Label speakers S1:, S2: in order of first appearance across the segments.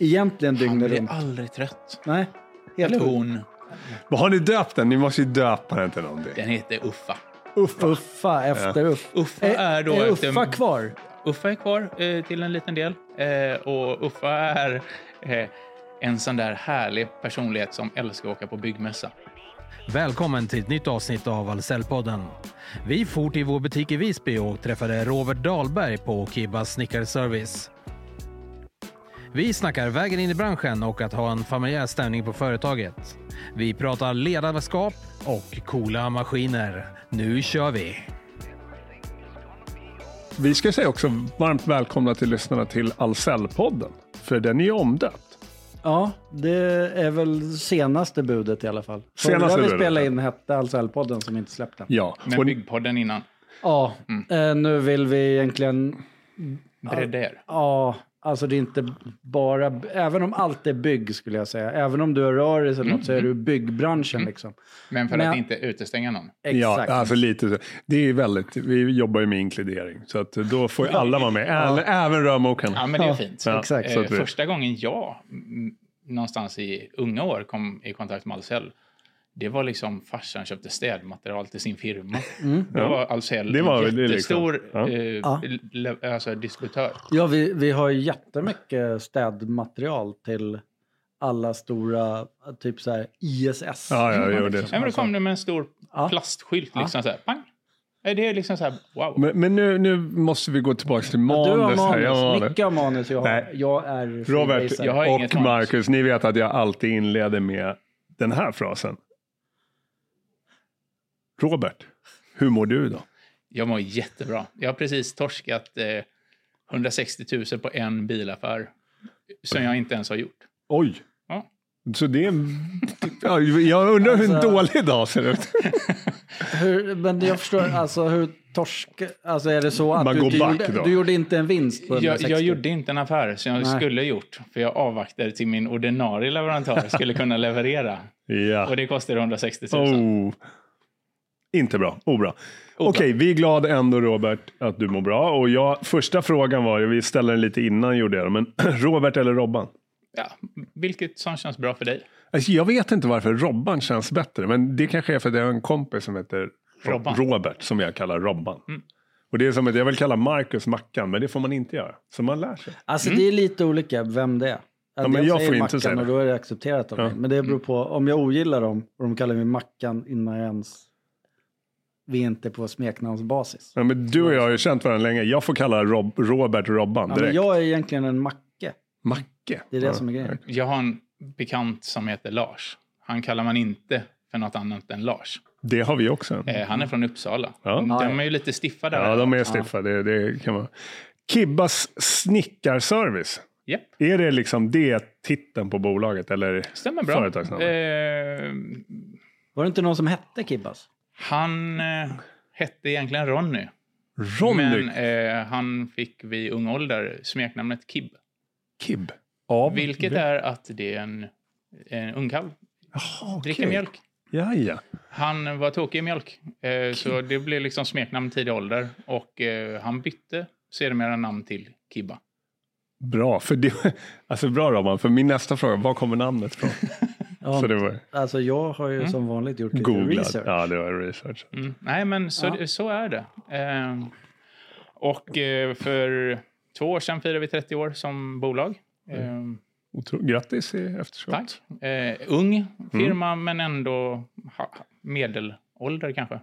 S1: Egentligen
S2: Han
S1: dygnet
S2: blir
S1: runt.
S2: aldrig trött.
S1: Nej, helt
S2: Eller
S1: sjukt.
S2: hon.
S3: Vad har ni döpt den? Ni måste ju döpa den till någonting.
S2: Den heter Uffa.
S1: Uffa. Uffa efter Uff.
S2: Uffa är då
S1: är
S2: efter-
S1: Uffa kvar?
S2: Uffa är kvar eh, till en liten del. Eh, och Uffa är eh, en sån där härlig personlighet som älskar att åka på byggmässa.
S4: Välkommen till ett nytt avsnitt av Ahlsellpodden. Vi for till vår butik i Visby och träffade Robert Dahlberg på Kibbas snickarservice. Vi snackar vägen in i branschen och att ha en familjär stämning på företaget. Vi pratar ledarskap och coola maskiner. Nu kör vi!
S3: Vi ska säga också varmt välkomna till lyssnarna till Ahlsell-podden. För den är ju omdöpt.
S1: Ja, det är väl senaste budet i alla fall. Så
S3: Senaste
S1: det där vi
S3: budet,
S1: spelade
S3: ja.
S1: in hette Ahlsell-podden som inte släppte.
S3: Ja,
S2: Men
S3: och
S2: byggpodden innan,
S1: Ja, eh, nu vill vi egentligen...
S2: bredda er.
S1: Ja, alltså det är inte bara... Även om allt är bygg skulle jag säga. Även om du har rörelse eller något så är du byggbranschen liksom.
S2: Men för att
S1: Men-
S2: inte utestänga någon.
S3: ja,
S1: Exakt.
S3: alltså lite så. Det är väldigt, vi jobbar ju med inkludering. Så att då får ju alla vara med, även, även rörmokaren.
S2: Ja, men det är fint.
S3: Ja,
S1: exakt.
S3: så
S2: Eh,
S3: att vi-
S2: första gången jag mm, någonstans i unga år kom i kontakt med Ahlsell, det var liksom farsan köpte städmaterial till sin firma. Då
S3: Ja.
S2: var Ahlsell
S3: Det var väl
S2: en
S3: det liksom.
S2: jättestor
S3: Ja.
S2: eh,
S1: Mm. Ja.
S2: le- alltså, distributör.
S1: Ja, vi, vi har ju jättemycket städmaterial till alla stora, typ så här ISS.
S3: Ja, ja, jo, det.
S2: Ja, men då kom det med en stor
S1: Ja.
S2: plastskylt. Liksom, så här, pang. Eh, Det är liksom så här, wow.
S3: Men, men nu, nu måste vi gå tillbaka till
S1: Du har
S3: manus.
S1: manus,
S3: här. Jag har manus.
S1: Micke har manus, jag, har,
S3: Nej.
S1: jag är
S3: Robert
S1: freebaser.
S2: jag har inget
S3: och
S2: manus.
S3: Marcus, ni vet att jag alltid inleder med den här frasen. Robert, hur mår du då?
S2: Jag mår jättebra. Jag har precis torskat eh, 160 000 på en bilaffär som jag inte ens har gjort.
S3: Oj!
S2: Ja.
S3: Så det är en... Ja, Jag undrar hur en
S1: Alltså-
S3: dålig dag ser ut.
S1: Hur, men jag förstår, alltså hur torsk... Alltså är det så att
S3: Man
S1: du,
S3: går
S1: du,
S3: back
S1: gjorde,
S3: då.
S1: du gjorde inte en vinst på
S2: Jag,
S1: 160?
S2: jag gjorde inte en affär som jag
S1: Nej.
S2: skulle gjort. För jag avvaktade till min ordinarie leverantör skulle kunna leverera. Och
S3: Ja.
S2: det kostade 160 000.
S3: Oh. Inte bra. Obra. Okej, vi är glada ändå Robert att du mår bra. Och jag, första frågan var ju, vi ställde den lite innan gjorde jag det, men Robert eller Robban?
S2: Ja, vilket som känns bra för dig.
S3: Alltså, jag vet inte varför Robban känns bättre, men det kanske är för att jag har en kompis som heter Ro-
S2: Robban. Mm.
S3: Robert, som jag kallar Robban. Och det är som att jag vill kalla Marcus Mackan, men det får man inte göra. Så man lär sig.
S1: Alltså det är lite olika vem det är. Att
S3: Mm. men jag får inte
S1: Mackan
S3: säga det.
S1: och då är det accepterat av mig. Men det beror på om jag ogillar dem och de kallar mig Mackan innan jag ens... Vi är inte på smeknamnsbasis.
S3: Ja, men du och jag har ju känt varandra länge. Jag får kalla Rob- Robert Robban
S1: Ja,
S3: direkt.
S1: men jag är egentligen en macke.
S3: Macke.
S1: Det är det
S3: ja.
S1: som är grejen.
S2: Jag har en bekant som heter Lars. Han kallar man inte för något annat än Lars.
S3: Det har vi också.
S2: Eh, han är från Uppsala.
S3: Mm. Ja.
S2: De är ju lite stiffa där.
S3: Ja, de är stiffa. Det, det kan man. Kibbas snickarservice.
S2: Japp.
S3: Är det liksom det titeln på bolaget? Eller?
S2: Stämmer bra.
S3: Företagsnamn.
S2: Eh,
S1: Var det inte någon som hette Kibbas?
S2: han eh, hette egentligen Ronny.
S3: Ronny
S2: Men eh, han fick vid ung ålder smeknamnet Kib.
S3: Kibb. Av
S2: Vilket är att det är en, en ungkalv.
S3: Jaha,
S2: Dricker
S3: okej.
S2: mjölk.
S3: Ja, ja.
S2: Han var tokig i mjölk. Eh, så det blev liksom smeknamn i tidig ålder. Och eh, han bytte sedermera namn till Kibba.
S3: Bra, för det, alltså bra Robban, för min nästa fråga, var kommer namnet ifrån?
S1: Ja,
S3: Så det var
S1: Alltså jag har ju som vanligt gjort lite
S3: googlat.
S1: research.
S3: Ja, det var research.
S2: Mm. Nej, men så, så är det. Eh, och eh, för två år sedan firade vi 30 år som bolag. Eh,
S3: Otro, grattis i efterskott.
S2: Tack. Eh, ung firma, men ändå ha, medelålder kanske.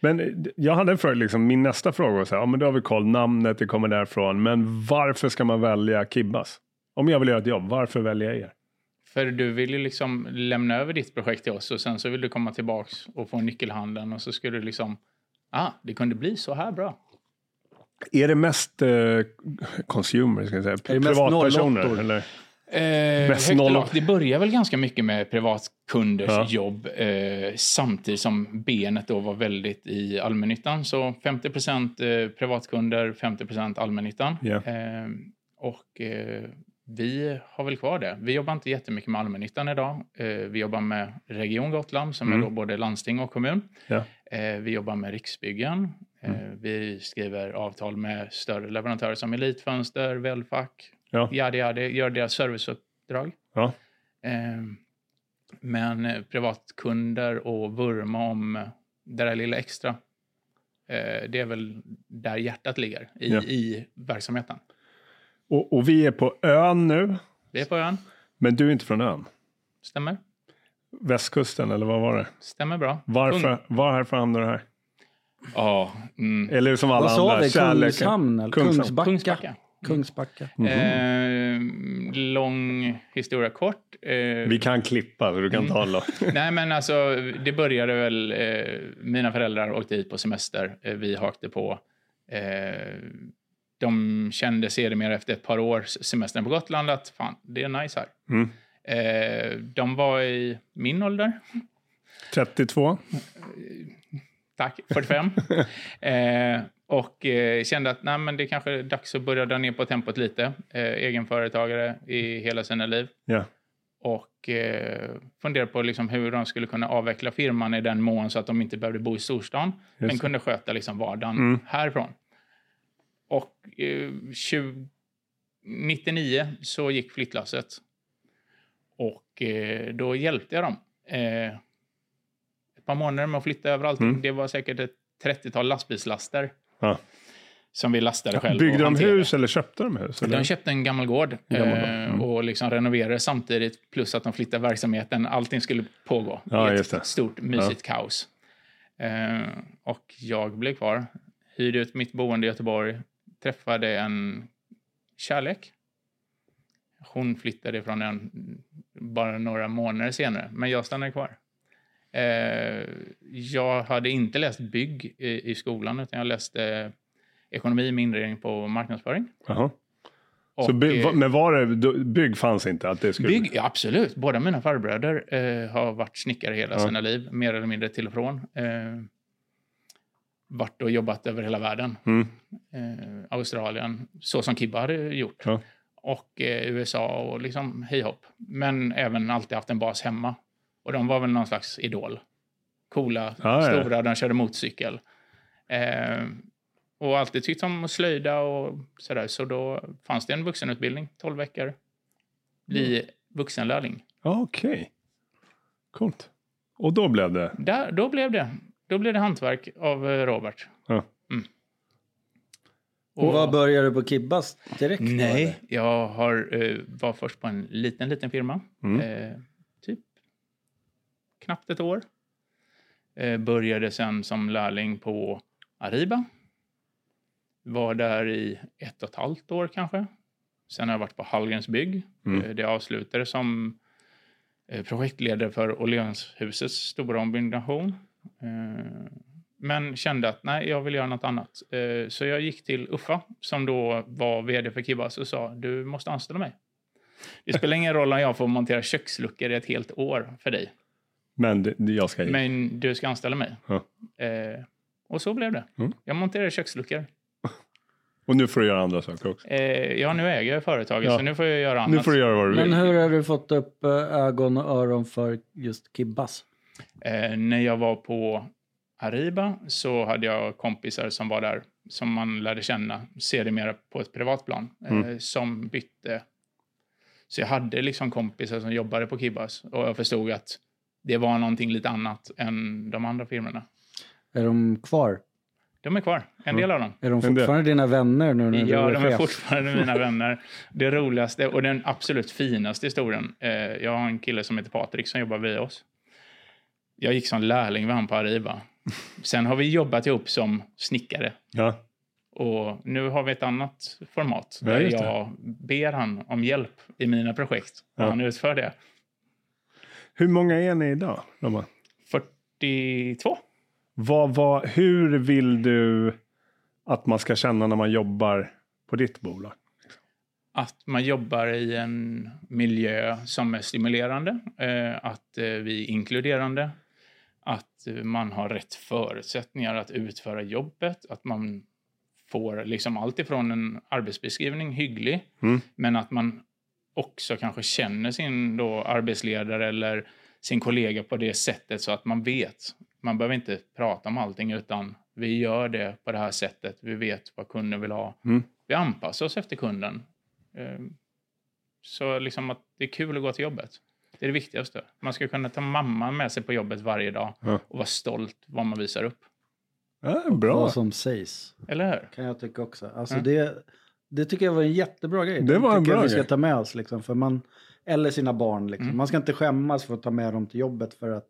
S3: Men eh, jag hade en fråga, liksom, min nästa fråga var så här, ja men då har vi koll, namnet, det kommer därifrån, men varför ska man välja Kibbas? Om jag vill göra ett jobb, varför väljer jag er?
S2: För du vill ju liksom lämna över ditt projekt till oss och sen så vill du komma tillbaks och få nyckelhandeln och så skulle du liksom, ah, det kunde bli så här bra.
S3: Är det mest eh, consumer, ska jag säga,
S1: det mest nollåttor?
S3: privatpersoner? Eller?
S2: Eh,
S3: Mest
S2: högt och
S3: noll-
S2: lågt. det börjar väl ganska mycket med privatkunders
S3: Ja.
S2: jobb eh, samtidigt som benet då var väldigt i allmännyttan. Så 50 eh, privatkunder, 50 allmännyttan.
S3: Ja.
S2: Eh, och eh, vi har väl kvar det. Vi jobbar inte jättemycket med allmännyttan idag. Eh, vi jobbar med Region Gotland som
S3: Mm.
S2: är då både landsting och kommun.
S3: Ja. Mm.
S2: Eh, vi jobbar med Riksbyggen. Eh, vi skriver avtal med större leverantörer som Elitfönster, Välfack,
S3: Ja.
S2: Yadi Yadi gör deras serviceuppdrag.
S3: Ja.
S2: Eh, men eh, privatkunder och vurma om eh, det där lilla extra. Eh, det är väl där hjärtat ligger i,
S3: Ja.
S2: i verksamheten.
S3: Och, och vi är på ön nu,
S2: Vi är på ön.
S3: men du är inte från ön.
S2: Stämmer.
S3: Västkusten, eller vad var det?
S2: Stämmer bra. Kung-
S3: Varför, varför hamnade du här?
S2: Ja. mm.
S3: Eller som alla
S1: Vad sa
S3: andra,
S1: vi?
S3: kärleken.
S1: Kungshamn? eller?
S3: Kungshamn. Mm.
S1: Kungsbacka. Kungsbacka.
S2: Kungsbacka. Eh, lång historia kort. Eh,
S3: Vi kan klippa, så du kan tala.
S1: Mm.
S2: Nej, men alltså, det började väl... Eh, mina föräldrar åkte hit på semester. Eh, vi hakte på. Eh, de kände sedermera efter ett par års semester på Gotland att fan, det är nice här.
S3: Mm.
S2: Eh, de var i min ålder.
S3: 32.
S2: Tack, 45. eh, och eh, kände att nej, men det kanske är dags att börja dra ner på tempot lite. Eh, egenföretagare i hela sina liv.
S3: Ja.
S2: och eh, funderade på liksom hur de skulle kunna avveckla firman i den mån så att de inte behövde bo i storstan, men
S3: det.
S2: kunde sköta liksom vardagen
S3: Mm.
S2: härifrån. Och eh, 20, 99 så gick flyttlasset. Och eh, då hjälpte jag dem. Eh, ett par månader med att flytta över allting.
S3: Mm.
S2: Det var säkert ett 30-tal lastbilslaster
S3: Ja.
S2: som vi lastade själva. och
S3: Byggde de
S2: hanterade.
S3: hus eller köpte de hus? Eller?
S2: De köpte en gammal gård
S3: En gammal gård,
S2: eh,
S3: mm.
S2: och liksom renoverade samtidigt. Plus att de flyttade verksamheten. Allting skulle pågå
S3: Ja,
S2: i ett
S3: just det.
S2: stort mysigt kaos. Eh, och jag blev kvar. Hyrde ut mitt boende i Göteborg. Träffade en kärlek. Hon flyttade från ön bara några månader senare, men jag stannade kvar. Eh, jag hade inte läst bygg i, i skolan, utan jag läste ekonomi med inriktning på marknadsföring.
S3: Jaha.
S2: Och,
S3: Så by,
S2: eh,
S3: va- men var det, då- bygg fanns inte? Att det skulle,
S2: Bygg, ja, absolut. Båda mina farbröder eh, har varit snickare hela
S3: Ja.
S2: sina liv, mer eller mindre till och från. Eh, varit och jobbat över hela världen.
S3: Mm.
S2: Eh, Australien, så som Kibba hade gjort.
S3: Ja.
S2: Och eh, USA och liksom hej hopp. Men även alltid haft en bas hemma. Och de var väl någon slags idol. Coola,
S3: Ah, Ja, ja.
S2: stora, de körde motorcykel. Eh, och alltid tyckt om att slöjda och sådär. Så då fanns det en vuxenutbildning, 12 veckor. Bli
S3: Mm.
S2: vuxenlärling.
S3: Ja, Okej. Coolt. Och då blev det?
S2: Där, då blev det. Då blev det hantverk av eh, Robert.
S3: Ja.
S2: Mm.
S1: Och vad började du på Kibbas direkt? då,
S2: Nej,
S1: eller?
S2: jag har, eh, var först på en liten, liten firma.
S3: Mm.
S2: Eh, typ knappt ett år. Eh, började sen som lärling på Ariba. Var där i ett och ett halvt år kanske. Sen har jag varit på Hallgrens bygg.
S3: Mm.
S2: Eh, det avslutades som eh, projektledare för Åhlénshusets stora ombyggnation. Eh, men kände att nej, jag vill göra något annat. Eh, Så jag gick till Uffa som då var vd för Kibbas och sa du måste anställa mig. Det spelar ingen roll om jag får montera köksluckor i ett helt år för dig.
S3: Men det, det- jag ska ge.
S2: Men du ska anställa mig.
S3: Ja.
S2: Eh, Och så blev det.
S3: Mm.
S2: Jag monterade köksluckor.
S3: Och nu får du göra andra saker också.
S2: Eh, Ja, nu äger jag företaget
S3: Ja.
S2: så nu får jag göra annat.
S3: Nu får du göra vad du vill.
S1: Men hur har du fått upp eh, ögon och öron för just Kibbas?
S2: Eh, när jag var på Ariba så hade jag kompisar som var där som man lärde känna sedermera på ett privat plan eh,
S3: Mm.
S2: som bytte. Så jag hade liksom kompisar som jobbade på Kibbas och jag förstod att det var någonting lite annat än de andra firmorna.
S1: Är de kvar?
S2: De är kvar, en
S3: Mm.
S2: del av dem.
S1: Är de
S3: Men det-
S1: fortfarande dina vänner nu
S3: Mm,
S1: när
S2: Ja,
S1: du
S2: de är
S1: chef?
S2: fortfarande mina vänner. Det roligaste och den absolut finaste historien. Eh, jag har en kille som heter Patrik som jobbar vid oss. Jag gick som lärling vid han på Arriva. Sen har vi jobbat ihop som snickare.
S3: Ja.
S2: Och nu har vi ett annat format.
S3: Ja,
S2: Där
S3: just det.
S2: jag ber han om hjälp i mina projekt. Och
S3: Ja.
S2: han utför det.
S3: Hur många är ni idag, Robban?
S2: 42.
S3: Vad, vad, hur vill du att man ska känna när man jobbar på ditt bolag?
S2: att man jobbar i en miljö som är stimulerande, eh, att eh, vi är inkluderande, att eh, man har rätt förutsättningar att utföra jobbet, att man får liksom allt ifrån en arbetsbeskrivning hygglig,
S3: Mm.
S2: men att man också kanske känner sin då arbetsledare eller sin kollega på det sättet så att man vet. Man behöver inte prata om allting utan vi gör det på det här sättet. Vi vet vad kunden vill ha.
S3: Mm.
S2: Vi anpassar oss efter kunden. Eh, Så liksom att det är kul att gå till jobbet. Det är det viktigaste. Man ska kunna ta mamman med sig på jobbet varje dag
S3: Ja.
S2: och vara stolt vad man visar upp.
S3: Ja, bra.
S1: Vad som sägs.
S2: Eller hur?
S1: Kan jag tycka också. Alltså
S2: Mm.
S1: det, det tycker jag var en jättebra grej.
S3: Det var en
S1: tycker jag
S3: bra
S1: vi ska
S3: grej.
S1: ta med oss. Liksom, för man, eller sina barn. Liksom.
S2: Mm.
S1: Man ska inte skämmas för att ta med dem till jobbet för att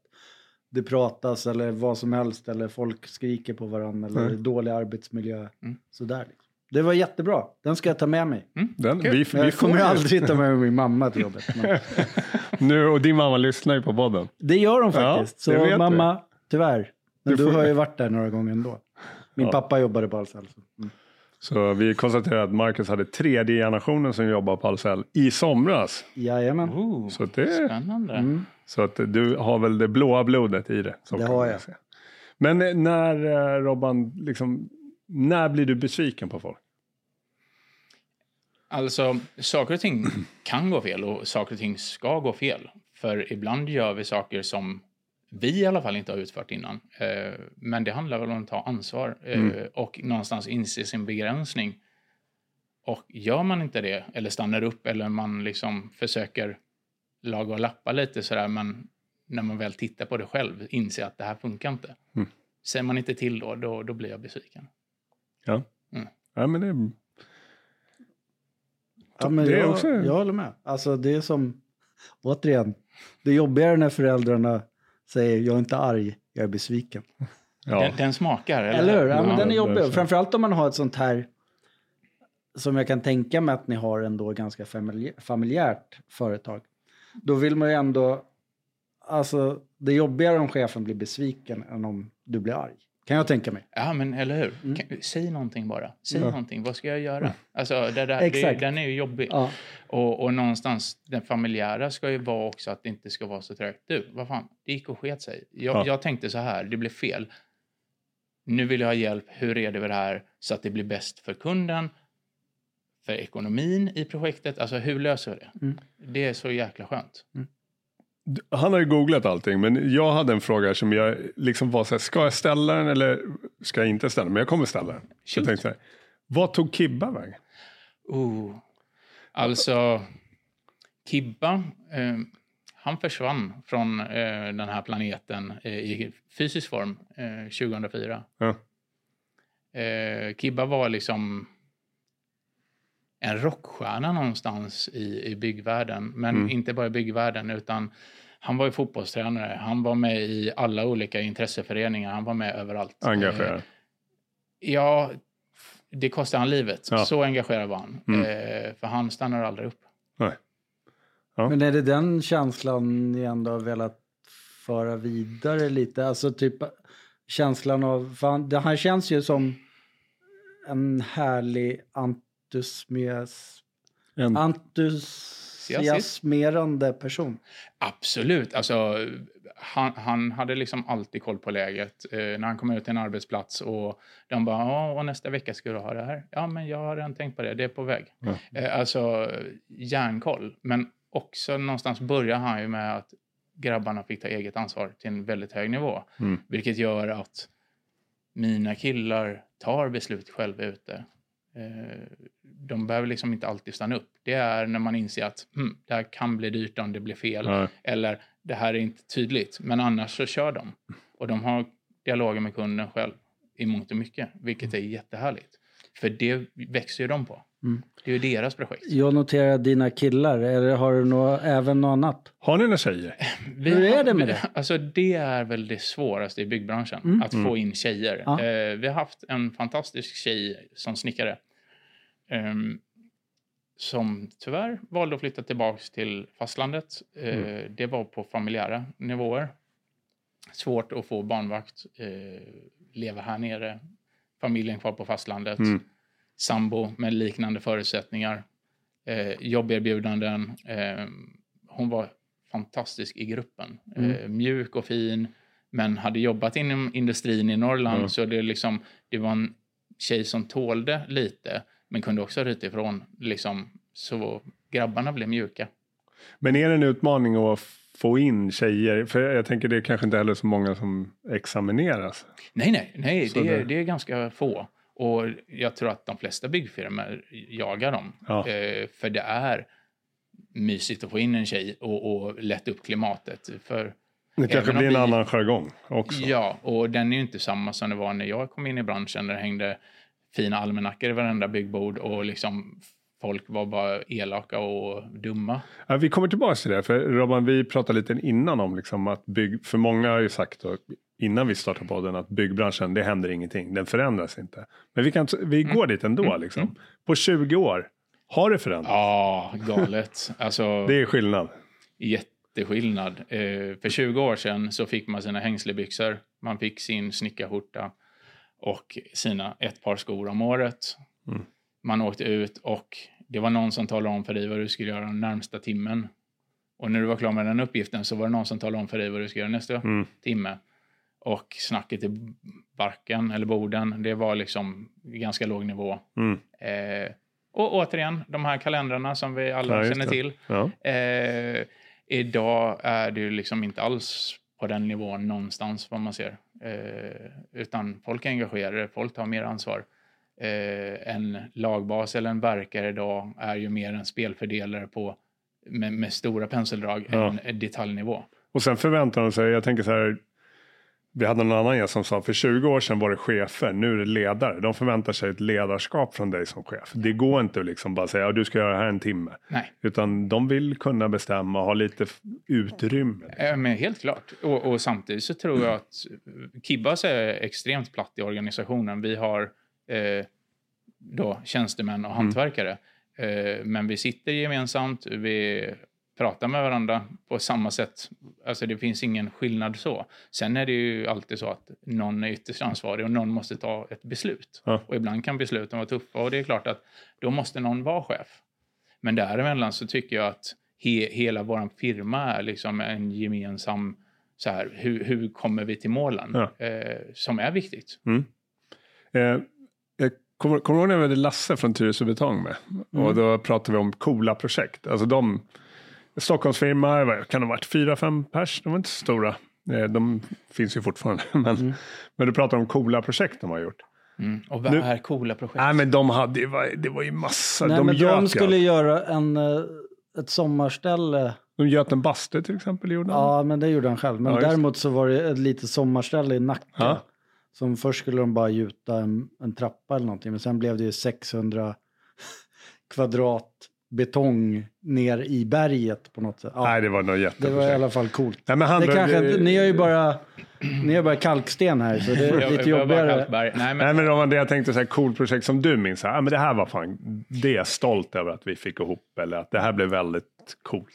S1: det pratas eller vad som helst. Eller folk skriker på varandra. Eller
S3: Mm.
S1: dålig arbetsmiljö.
S2: Mm.
S1: Sådär. Liksom. Det var jättebra. Den ska jag ta med mig.
S2: Mm,
S3: Den,
S2: kul.
S1: Men
S3: vi, vi
S1: jag kommer
S3: får
S1: ju
S3: aldrig.
S1: aldrig ta med min mamma till jobbet. Men
S3: Nu, och din mamma lyssnar ju på podden.
S1: det gör de
S3: Ja,
S1: faktiskt.
S3: det vet
S1: Så
S3: vi.
S1: mamma, tyvärr. Men
S3: Du
S1: du,
S3: får-
S1: har ju varit där några gånger ändå. Min
S3: Ja.
S1: pappa jobbade på Ahlsell. så- Mm.
S3: Så vi konstaterar att Marcus hade tredje generationen som jobbar på Ahlsell i somras.
S1: Jajamän.
S2: Ooh,
S3: Så, att det,
S2: spännande.
S1: Mm.
S3: så att du har väl det blåa blodet i det. så
S1: Det
S3: kan
S1: har
S3: man
S1: jag.
S3: säga. Men eh, när, eh, Robban, liksom, när blir du besviken på folk?
S2: Alltså, saker och ting kan gå fel och saker och ting ska gå fel. För ibland gör vi saker som vi i alla fall inte har utfört innan. Eh, Men det handlar väl om att ta ansvar eh,
S3: Mm.
S2: och någonstans inse sin begränsning. Och gör man inte det, eller stannar upp, eller man liksom försöker laga och lappa lite sådär, men när man väl tittar på det själv inser att det här funkar inte.
S3: Mm.
S2: Säger man inte till då, då, då blir jag besviken.
S3: Ja, men det,
S1: Ja, men
S3: Det är
S1: jag,
S3: också-
S1: jag håller med. Alltså det är som, återigen, det är jobbigare när föräldrarna säger jag är inte arg, jag är besviken.
S3: ja.
S2: Den, den smakar, eller,
S1: Eller hur? Ja, men
S2: Ja.
S1: den är
S3: det är
S1: jobbig.
S3: så.
S1: Framförallt om man har ett sånt här, som jag kan tänka mig att ni har ändå ganska familjä- familjärt företag. Då vill man ju ändå, alltså det är jobbigare om chefen blir besviken än om du blir arg. Kan jag tänka mig.
S2: Ja, men eller hur?
S1: Mm.
S2: Kan, säg någonting bara. Säg
S3: Ja.
S2: någonting. Vad ska jag göra? Alltså, det där, det,
S1: Exakt.
S2: den är ju jobbig.
S1: Ja.
S2: Och, och någonstans, den familjära ska ju vara också att det inte ska vara så trögt. Du, vad fan, det gick och sket sig. Jag,
S3: Ja.
S2: jag tänkte så här, det blev fel. Nu vill jag ha hjälp. Hur reder vi det här så att det blir bäst för kunden? För ekonomin i projektet. Alltså, hur löser vi det?
S1: Mm.
S2: Det är så jäkla skönt.
S3: Han har ju googlat allting, men jag hade en fråga som jag liksom var så här, ska jag ställa den eller ska jag inte ställa den? Men jag kommer ställa den. Så jag
S2: Shoot.
S3: tänkte så här, vad tog Kibba vägen?
S2: Oh. Alltså, Kibba, eh, han försvann från eh, den här planeten eh, i fysisk form eh, 2004.
S3: Ja.
S2: Eh, Kibba var liksom en rockstjärna någonstans i, i byggvärlden. Men
S3: Mm.
S2: inte bara i byggvärlden, utan han var ju fotbollstränare. Han var med i alla olika intresseföreningar. Han var med överallt. Eh,
S3: Engagerad.
S2: Ja, det kostade han livet.
S3: Ja.
S2: Så engagerad var han.
S3: Mm.
S2: Eh, för han stannar aldrig upp.
S1: Men är det den känslan ni ändå har velat föra vidare lite? Alltså typ känslan av, fan, det här känns ju som en härlig entusias,
S3: En,
S1: entusiasmerande person.
S2: Absolut. Alltså, han, han hade liksom alltid koll på läget. Eh, när han kom ut till en arbetsplats och de bara ja, och nästa vecka ska du ha det här. Ja, men jag har redan tänkt på det. Det är på väg.
S3: Ja.
S2: Eh, alltså, järnkoll. Men också någonstans börjar han ju med att grabbarna fick ta eget ansvar till en väldigt hög nivå.
S3: Mm.
S2: Vilket gör att mina killar tar beslut själva ute. Eh, De behöver liksom inte alltid stanna upp. Det är när man inser att hm, det här kan bli dyrt om det blir fel.
S3: ja.
S2: Eller det här är inte tydligt. Men annars så kör de. Och de har dialoger med kunden själv i mångt och mycket. Vilket är jättehärligt. För det växer ju de på.
S1: Mm.
S2: Det är ju deras projekt.
S1: Jag noterar dina killar, eller har du nå, även något annat?
S3: Har ni några tjejer?
S2: Vi
S1: Hur är
S2: har-
S1: det med det?
S2: Alltså det är väl det svåraste i byggbranschen,
S1: Mm.
S2: att få in tjejer.
S1: Ja.
S2: Eh, vi har haft en fantastisk tjej som snickare. ehm, som tyvärr valde att flytta tillbaka till fastlandet. Eh, Det var på familjära nivåer. Svårt att få barnvakt, eh, leva här nere, familjen kvar på fastlandet,
S3: Mm.
S2: sambo med liknande förutsättningar, eh, jobberbjudanden. Eh, hon var fantastisk i gruppen. Eh,
S3: Mm.
S2: mjuk och fin, men hade jobbat inom industrin i Norrland
S3: Ja.
S2: så det, liksom, det var en tjej som tålde lite men kunde också ryta ifrån. Liksom, så grabbarna blev mjuka.
S3: Men är det en utmaning att få in tjejer? För jag tänker det är kanske inte heller så många som examineras.
S2: Nej, nej, nej
S3: Så
S2: det, är,
S3: det-
S2: det är ganska få. Och jag tror att de flesta byggfirmor jagar dem.
S3: Ja.
S2: Eh, för det är mysigt att få in en tjej och, och lätta upp klimatet. För,
S3: Det kanske
S2: Även om
S3: blir en
S2: vi-
S3: annan jargong också.
S2: ja, och den är ju inte samma som det var när jag kom in i branschen där det hängde fina almanackor i varenda byggbord och liksom folk var bara elaka och dumma.
S3: Ja, vi kommer tillbaka till det, för Robban, vi pratade lite innan om liksom att bygg, för många har ju sagt då, innan vi startade podden att byggbranschen, det händer ingenting, den förändras inte. Men vi, kan, vi
S2: Mm.
S3: går dit ändå liksom. På 20 år, har det förändrats?
S2: Ja, galet. Alltså,
S3: Det är skillnad.
S2: jätteskillnad. Eh, för 20 år sedan så fick man sina hängslebyxor, man fick sin snickarskjorta och sina ett par skor om året.
S3: Mm.
S2: Man åkte ut och det var någon som talade om för dig vad du skulle göra den närmsta timmen. Och när du var klar med den uppgiften så var det någon som talade om för dig vad du skulle göra nästa
S3: Mm.
S2: timme. Och snacket i barken eller borden, det var liksom ganska låg nivå.
S3: Mm.
S2: Eh, och återigen, de här kalendrarna som vi
S3: Ja,
S2: alla
S3: just
S2: känner
S3: det.
S2: till.
S3: Ja.
S2: Eh, idag är det ju liksom inte alls på den nivån någonstans vad man ser. Eh, utan folk är engagerade, folk tar mer ansvar. Eh, en lagbas eller en verkare idag är ju mer en spelfördelare på, med, med stora penseldrag
S3: Ja.
S2: än en detaljnivå.
S3: Och sen förväntar de sig, jag tänker så här, vi hade någon annan gäst som sa, för 20 år sedan var det chefer, nu är det ledare. De förväntar sig ett ledarskap från dig som chef. Det går inte att liksom bara säga, ja, du ska göra det här en timme.
S2: Nej,
S3: Utan de vill kunna bestämma och ha lite f- utrymme.
S2: eh, men helt klart. Och, och samtidigt så tror jag att eh, Kibbas är extremt platt i organisationen. Vi har eh, då tjänstemän och hantverkare. Eh, men vi sitter gemensamt, vi pratar med varandra på samma sätt. Alltså det finns ingen skillnad så. Sen är det ju alltid så att någon är ytterst ansvarig och någon måste ta ett beslut.
S3: Ja.
S2: Och ibland kan besluten vara tuffa och det är klart att då måste någon vara chef. Men däremellan så tycker jag att he, hela vår firma är liksom en gemensam så här, hur, hur kommer vi till målen?
S3: Ja.
S2: Eh, som är viktigt.
S3: Mm. Eh, jag kommer, kommer du ihåg när vi hade Lasse från Tyresö Betong med?
S1: Mm.
S3: Och då pratade vi om coola projekt. Alltså de, Stockholmsfirma, vad kan det ha varit fyra, fem pers? De var inte så stora. Eh, de finns ju fortfarande. Men,
S1: Mm.
S3: men du pratade om coola projekt de har gjort.
S2: Mm. Och vad
S3: Nu-
S2: är coola projekt?
S3: Nej men de hade ju, var- det var ju massa.
S1: Nej,
S3: de, alltså.
S1: men
S3: göt
S1: de
S3: ju
S1: skulle
S3: allt.
S1: göra en, eh, ett sommarställe.
S3: de göt en bastu till exempel. Gjorde de.
S1: Ja, men det gjorde han själv. Men
S3: Ja, just det.
S1: däremot så var det ett litet sommarställe i Nacka.
S3: Ja.
S1: Som först skulle de bara gjuta en, en trappa eller någonting. Men sen blev det ju 600 kvadrat betong ner i berget på något sätt. Ja,
S3: Nej det var något
S1: det var
S3: jätteprojekt.
S1: i alla fall coolt.
S3: Nej, men han,
S1: Det kanske,
S3: det-
S1: ni har ju bara, ni har bara kalksten här så det är
S2: Jag-
S1: lite
S2: jag var bara
S1: jobbigare.
S2: Hallberg. Nej, men,
S3: Nej men Roman, det jag tänkte så här coolt projekt som du minns. Så här, ah, men det här var fan, det är jag stolt över att vi fick ihop. Eller att det här blev väldigt coolt.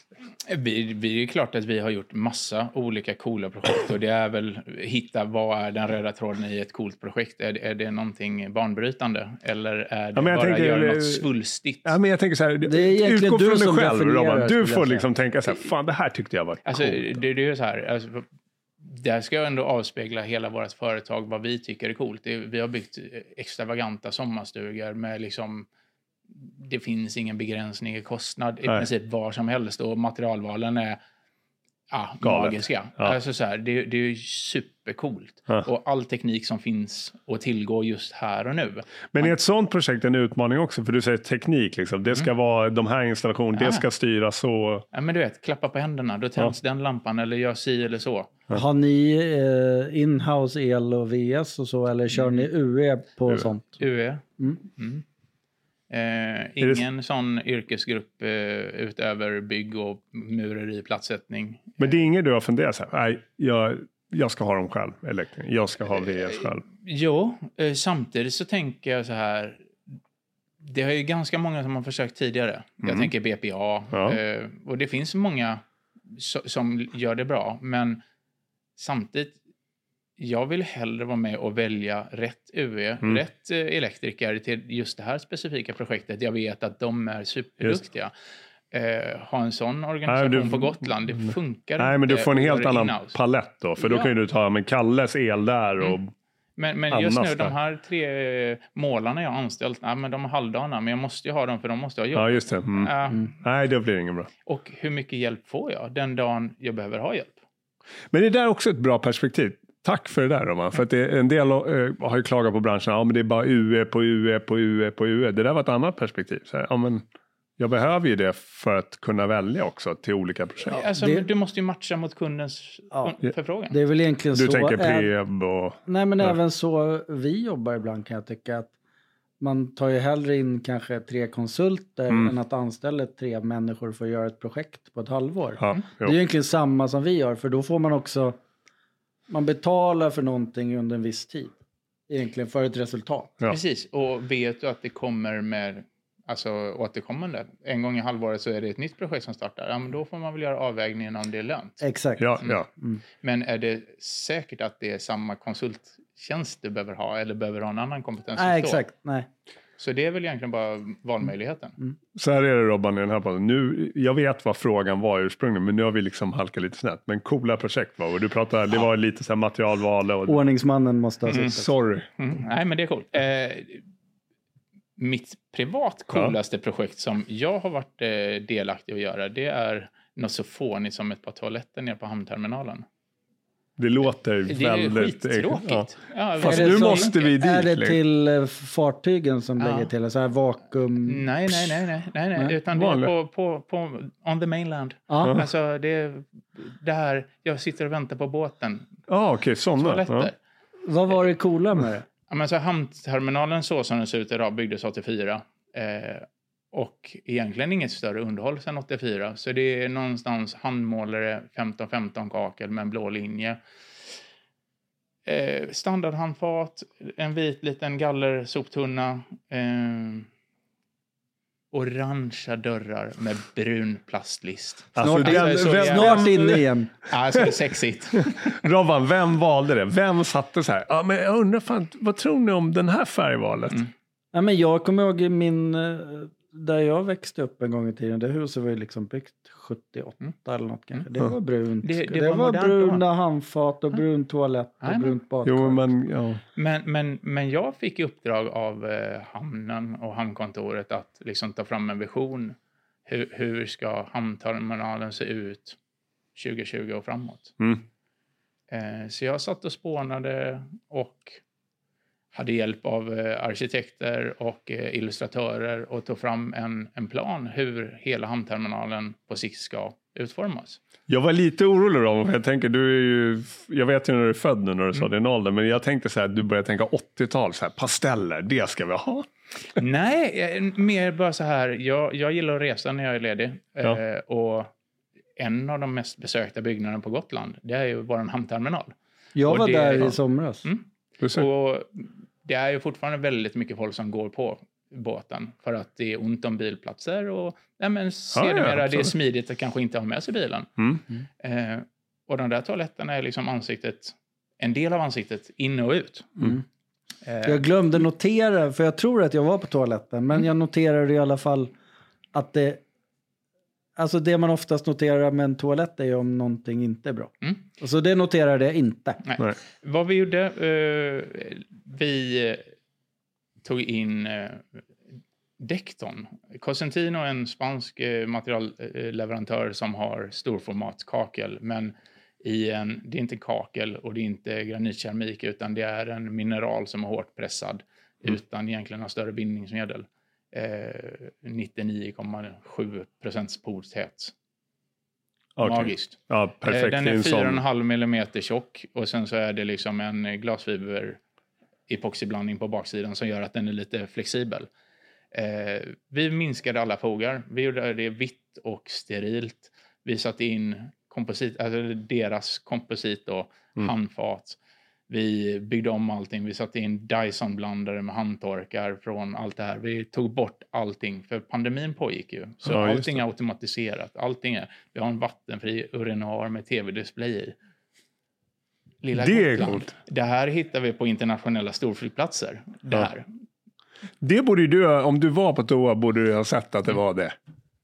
S2: vi, vi, det är klart att vi har gjort massa olika coola projekt och det är väl hitta vad är den röda tråden i ett coolt projekt. Är, det- är det någonting banbrytande eller är det
S3: men jag
S2: bara
S3: tänker-
S2: göra något svulstigt?
S3: Ja, men jag tänker så här,
S1: är egentligen
S3: utgå
S1: du
S3: från dig
S1: som
S3: själv
S1: definierar, skulle
S3: Roman. Du
S1: jag
S3: får
S1: säga.
S3: liksom tänka så här, fan det här tyckte jag var
S2: Alltså,
S3: coolt.
S2: det, det är ju så här. Alltså, det här ska jag ändå avspegla hela vårt företag, vad vi tycker är coolt. Det, vi har byggt eh, extravaganta sommarstugor med liksom... Det finns ingen begränsning i kostnad i
S3: Nej.
S2: princip var som helst och materialvalen är ja,
S3: Galet.
S2: magiska.
S3: Ja.
S2: Alltså så här, det, det är ju supercoolt.
S3: Ja.
S2: Och all teknik som finns att tillgå just här och nu.
S3: Men är ett sånt projekt en utmaning också? För du säger teknik, liksom. det
S1: Mm.
S3: ska vara de här installationerna, det
S2: Ja.
S3: ska styras så.
S2: Ja, men du vet, klappa på händerna, då tänds den lampan eller gör si eller så.
S1: Har ni eh, inhouse el och VS och så eller
S3: Mm.
S1: kör ni UE på
S3: UE.
S1: sånt?
S2: UE.
S1: Mm.
S2: Mm. Eh,
S3: det-
S2: ingen sån yrkesgrupp eh, utöver bygg och mureri, plattsättning.
S3: Men det är inget du har funderat så här, nej, jag, jag ska ha dem själv, elektriker. jag ska
S1: Eh,
S3: ha VS själv.
S2: Jo, eh, samtidigt så tänker jag så här. Det har ju ganska många som har försökt tidigare. Jag
S3: Mm.
S2: tänker BPA.
S3: Ja.
S2: Eh, och det finns många so- som gör det bra. Men samtidigt, jag vill hellre vara med och välja rätt UE,
S3: Mm.
S2: rätt eh, elektriker till just det här specifika projektet. Jag vet att de är superduktiga. Eh, ha en sån organisation
S3: Nej, du-
S2: på Gotland, det funkar
S3: Nej,
S1: eh,
S3: men du
S2: inte
S3: får en
S2: att
S3: helt
S2: göra
S3: annan
S2: in-house.
S3: palett då. För då
S2: Ja.
S3: kan ju du ta, men Kalles el där och
S1: Mm.
S2: Men, men just
S3: Annars
S2: nu,
S3: där.
S2: de här tre eh, målarna jag har anställt, nej, men de är halvdana, men jag måste ju ha dem för de måste ha jobb.
S3: Ja, just det. Mm.
S2: Eh,
S3: Nej, då blir det inget bra.
S2: Och hur mycket hjälp får jag den dagen jag behöver ha hjälp?
S3: Men det där är också ett bra perspektiv. Tack för det där Roman. För att det, en del eh, har ju E klagat på branschen. Ja, men det är bara UE på UE på UE på UE. Det där var ett annat perspektiv. Så här, ja, men Jag behöver ju det för att kunna välja också till olika projekt.
S2: alltså,
S1: det-
S2: Du måste ju matcha mot kundens
S1: Ja.
S2: un- förfrågan.
S1: Det är väl egentligen
S3: Du
S1: så.
S3: tänker
S1: ä-
S3: preb och...
S1: Nej, men
S3: Ja.
S1: även så vi jobbar ibland kan jag tycka att man tar ju hellre in kanske tre konsulter
S3: Mm.
S1: än att anställa tre människor för att göra ett projekt på ett halvår.
S3: Ja,
S2: Mm.
S1: Det
S3: jo.
S1: är ju egentligen samma som vi gör, för då får man också... Man betalar för någonting under en viss tid. Egentligen för ett resultat.
S3: Ja.
S2: Precis, och vet du att det kommer med alltså, återkommande. En gång i halvåret så är det ett nytt projekt som startar. Ja, men då får man väl göra avvägningen om det är lönt.
S1: Exakt.
S3: ja, ja.
S2: Men är det säkert att det är samma konsulttjänst du behöver ha eller behöver ha en annan kompetens?
S1: Nej,
S2: just då?
S1: exakt. Nej.
S2: Så det är väl egentligen bara valmöjligheten.
S3: Så här är det Robban i den här podden. Nu, jag vet vad frågan var ursprungligen, men nu har vi liksom halkat lite snett. Men coola projekt var och du pratade, det var lite så här materialval och...
S1: Ordningsmannen måste ha suttit.
S3: Sorry.
S2: Mm. Nej, men det är coolt. Eh, mitt privat coolaste projekt som jag har varit eh, delaktig i att göra, det är något så fånigt som ett par toaletter nere på hamnterminalen.
S3: Det låter
S2: Det är ju
S3: väldigt...
S2: skittråkigt.
S3: Ja.
S2: Ja,
S3: Fast
S2: det är
S3: nu
S2: så-
S3: måste vi dit.
S1: Är det
S3: liksom.
S1: till eh, fartygen som
S2: Ja.
S1: lägger till? Så här vakuum...
S2: Nej, nej, nej, nej, nej, nej.
S1: Nej,
S2: utan det är
S3: vanligt.
S2: på, på, på on the mainland.
S1: Ja.
S2: Alltså det är där jag sitter och väntar på båten.
S3: Ja, ah, okej, sådana.
S2: Toaletter.
S3: Ja.
S1: Vad var det coola med det?
S2: Ja, men så hamnterminalen så som den ser ut idag byggdes 84. Eh, och egentligen inget större underhåll sedan 84. Så det är någonstans handmålare 15-15 kakel med en blå linje. Eh, standardhandfat, en vit liten gallersoptunna. Eh, orangea dörrar med brun plastlist.
S3: Alltså,
S1: Snart-
S3: den,
S2: Alltså,
S3: vem,
S1: Snart inne igen.
S2: Alltså sexigt.
S3: Robban, vem valde det? Vem satte så här? Ja, men jag undrar fan, vad tror ni om den här färgvalet?
S2: Mm.
S1: Ja, men jag kommer ihåg i min, eh, där jag växte upp en gång i tiden, det huset var ju liksom byggt 78 eller något kanske. Det var brunt.
S2: Mm. Det-
S1: Det,
S2: det var
S1: var,
S2: modernt då.
S1: bruna handfat och brun toalett och
S2: Nej, men-
S1: brunt badkar.
S3: Jo, men ja.
S2: Men, men, men jag fick i uppdrag av eh, hamnen och hamnkontoret att liksom ta fram en vision. Hur, hur ska hamnterminalen se ut 2020 och framåt?
S3: Mm.
S2: Eh, så jag satt och spånade och hade hjälp av eh, arkitekter och eh, illustratörer och tog fram en, en plan hur hela hamnterminalen på sikt ska utformas.
S3: Jag var lite orolig Robban, för jag tänker, du är ju, jag vet ju när du är född nu när du sa
S1: Mm.
S3: din ålder, men jag tänkte så här, du börjar tänka 80-tal, så här, pasteller, det ska vi ha.
S2: Nej, eh, mer bara så här. Jag, jag gillar att resa när jag är ledig.
S3: Ja.
S2: Eh, och en av de mest besökta byggnaderna på Gotland, det är ju vår hamnterminal.
S1: jag
S2: och
S1: var
S2: det-
S1: där
S2: ja.
S1: i somras.
S2: Mm.
S3: Du ser.
S2: Och det är ju fortfarande väldigt mycket folk som går på båten för att det är ont om bilplatser och nej men, sedermera det är
S3: absolut.
S2: smidigt att kanske inte ha med sig bilen.
S3: Mm.
S2: Eh, och de där toaletterna är liksom ansiktet, en del av ansiktet in och ut.
S1: Mm.
S2: Eh,
S1: Jag glömde notera, för jag tror att jag var på toaletten,
S2: Mm.
S1: men jag noterade i alla fall att det... Alltså det man oftast noterar med en toalett är ju om någonting inte är bra.
S2: Mm.
S1: Och Så det noterade jag inte.
S2: Nej.
S3: Nej.
S2: Vad vi gjorde, eh, vi eh, tog in eh, Decton. Cosentino är en spansk eh, materialleverantör som har storformatkakel, men i en, det är inte kakel och det är inte granitkeramik, utan det är en mineral som är hårt pressad utan egentligen några större bindningsmedel. Eh, 99,7 procents porthet.
S3: Okej.
S2: Magiskt.
S3: Ja, perfekt.
S2: Eh, Den
S3: Det
S2: är
S3: en sån-
S2: 4,5 millimeter tjock och sen så är det liksom en eh, glasfiber epoxyblandning på baksidan som gör att den är lite flexibel. Eh, vi minskade alla fogar. Vi gjorde det vitt och sterilt. Vi satte in komposit, alltså deras komposit och
S3: Mm.
S2: handfat. Vi byggde om allting. Vi satte in Dyson-blandare med handtorkar från allt det här. Vi tog bort allting, för pandemin pågick ju. Så
S3: Ja, just
S2: allting är automatiserat. Allting är, vi har en vattenfri urinoar med tv-display i. Lilla
S3: Det är
S2: Gotland.
S3: coolt.
S2: Det här hittar vi på internationella storflygplatser. Det
S3: Ja.
S2: här.
S3: Det borde ju du, ha- om du var på toa borde du ha sett att det var det.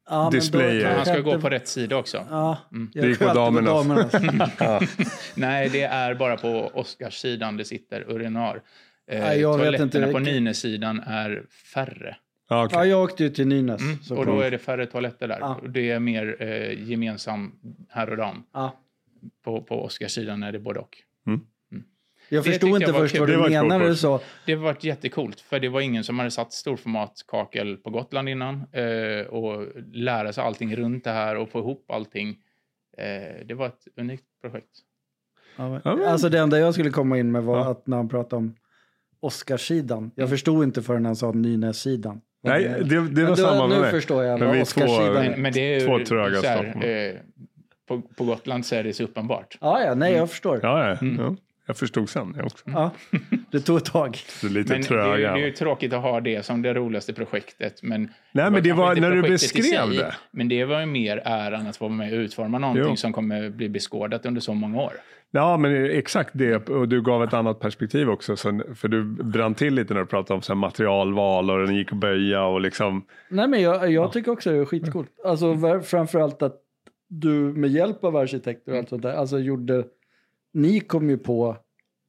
S1: Ja, men då-
S3: Displayer.
S2: Men Han ska
S1: jag
S2: gå
S1: inte-
S2: på Mm. rätt sida också.
S1: Ja, jag
S3: Det gick på
S1: sköt
S3: damernas.
S2: Nej, det är bara på Oscarssidan det sitter urinar. Eh,
S1: Ja, jag vet
S2: toaletterna
S1: inte.
S2: på Nynäsidan är färre. Mm.
S3: Ja,
S1: Ja,
S3: okej.
S1: jag åkte ju till Nynäs. så
S2: Och
S1: kom-
S2: då är det färre toaletter där.
S1: Ja.
S2: Det är mer eh, gemensam här och dam.
S1: ja.
S2: På, på Oscarssidan är det både och.
S3: Mm.
S1: Jag
S2: Det
S1: förstod
S2: tyckte
S1: inte
S2: jag var
S1: först
S2: kul.
S1: vad
S3: Det var
S1: du
S3: ett
S1: menade när du
S3: coolt
S1: sa.
S2: Det har varit jättekult för det var ingen som hade satt storformatkakel på Gotland innan eh, och lära sig allting runt det här och få ihop allting. Eh, det var ett unikt projekt.
S1: Ja, men-
S3: Ja, men-
S1: Alltså det enda jag skulle komma in med var
S3: Ja.
S1: att när han pratade om Oscarssidan.
S2: Mm.
S1: Jag förstod inte förrän han sa Nynässidan.
S3: Nej,
S1: Men-
S3: det, det
S1: Men
S3: var
S1: då-
S3: samma med
S1: Nu
S3: mig.
S1: förstår jag
S3: Men
S1: vad
S3: vi är två-
S1: Oscarssidan
S2: Men,
S1: är.
S2: men det är
S3: Två tröga
S2: så här,
S3: stockholmare.
S2: eh, på, på Gotland så är det så uppenbart.
S1: Ja, ja, nej, jag förstår. Ja.
S3: Ja, ja, ja. Jag förstod sen jag också.
S1: Det tog ett tag.
S3: Det är lite
S2: Men det, är ju-
S3: tröga.
S2: det är ju tråkigt att ha det som det roligaste projektet. Men
S3: Nej, men det
S2: kanske
S3: var
S2: inte
S3: när du
S2: projektet i
S3: beskrev
S2: sig,
S3: det.
S2: Men det var ju mer äran att vara med och utforma någonting
S3: Jo.
S2: som kommer bli beskådat under så många år.
S3: Ja, men exakt det. Och du gav ett annat perspektiv också. Så, för du brann till lite när du pratade om så här materialval och den gick att böja och liksom.
S1: Nej, men jag, jag tycker också det är skitcoolt.
S3: Mm.
S1: Alltså var- framförallt att du med hjälp av arkitekter
S3: Mm.
S1: och allt sånt där, alltså gjorde... Ni kom ju på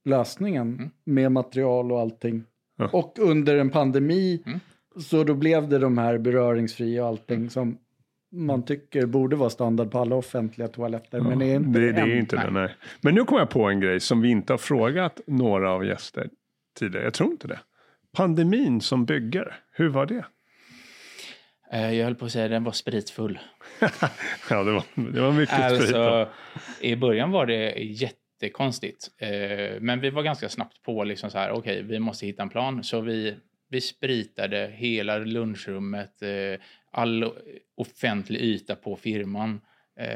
S1: lösningen
S2: Mm.
S1: med material och allting.
S3: Ja.
S1: Och under en pandemi,
S2: Mm.
S1: så då blev det de här beröringsfria och
S3: Mm.
S1: allting som man tycker borde vara standard på alla offentliga toaletter, men det är inte
S3: Det, det är
S1: än.
S3: inte det, nej. Men nu kom jag på en grej som vi inte har frågat några av gäster tidigare. Jag tror inte det. Pandemin som byggare, hur var det?
S2: Eh, Jag höll på att säga att den var spritfull.
S3: Ja, det var, det var mycket sprit. då.
S2: Alltså, I början var det jättekonstigt. Eh, Men vi var ganska snabbt på liksom så här, okej, vi måste hitta en plan. Så vi, vi spritade hela lunchrummet, eh, all offentlig yta på firman eh,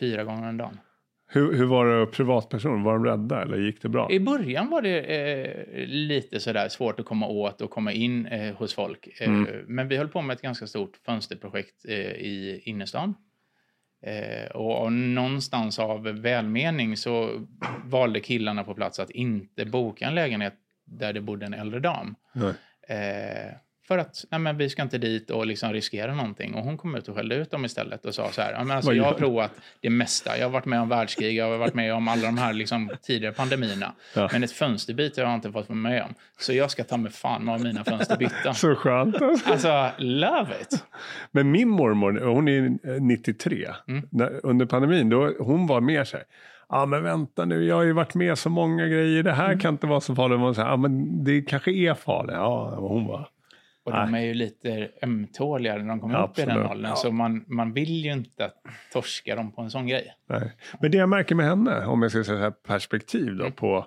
S2: fyra gånger om dagen.
S3: Hur, hur var det privatperson? Var de rädda eller gick det bra?
S2: I början var det eh, lite sådär svårt att komma åt och komma in eh, hos folk. Eh,
S3: Mm.
S2: Men vi höll på med ett ganska stort fönsterprojekt eh, i innerstan. Eh, och, och någonstans av välmening så valde killarna på plats att inte boka en lägenhet där det bodde en äldre dam.
S3: Nej.
S2: Eh, för att nej men vi ska inte dit och liksom riskera någonting. Och hon kom ut och skällde ut dem istället och sa så här. "Ja, Men alltså,
S3: Vad
S2: jag har
S3: gör du?"
S2: provat det mesta. Jag har varit med om världskrig, jag har varit med om alla de här liksom, tidigare pandemierna.
S3: Ja.
S2: Men ett fönsterbyte har jag inte fått vara med om. Så jag ska ta mig fan av mina fönster bytta.
S3: Så skönt. Alltså.
S2: Alltså, love it!
S3: Men min mormor, hon är eh, 93. När, under pandemin, då, hon var mer så här. Ja ah, men vänta nu, jag har ju varit med så många grejer. Det här kan inte vara så farligt. Hon sa, ah, men det kanske är farligt. Ja, och hon var.
S2: Och de är ju lite ömtåliga när de kommer upp i den
S3: Absolut.
S2: åldern. Så man, man vill ju inte torska dem på en sån grej.
S3: Nej. Men det jag märker med henne, om jag ska säga så här perspektiv då
S2: Mm.
S3: på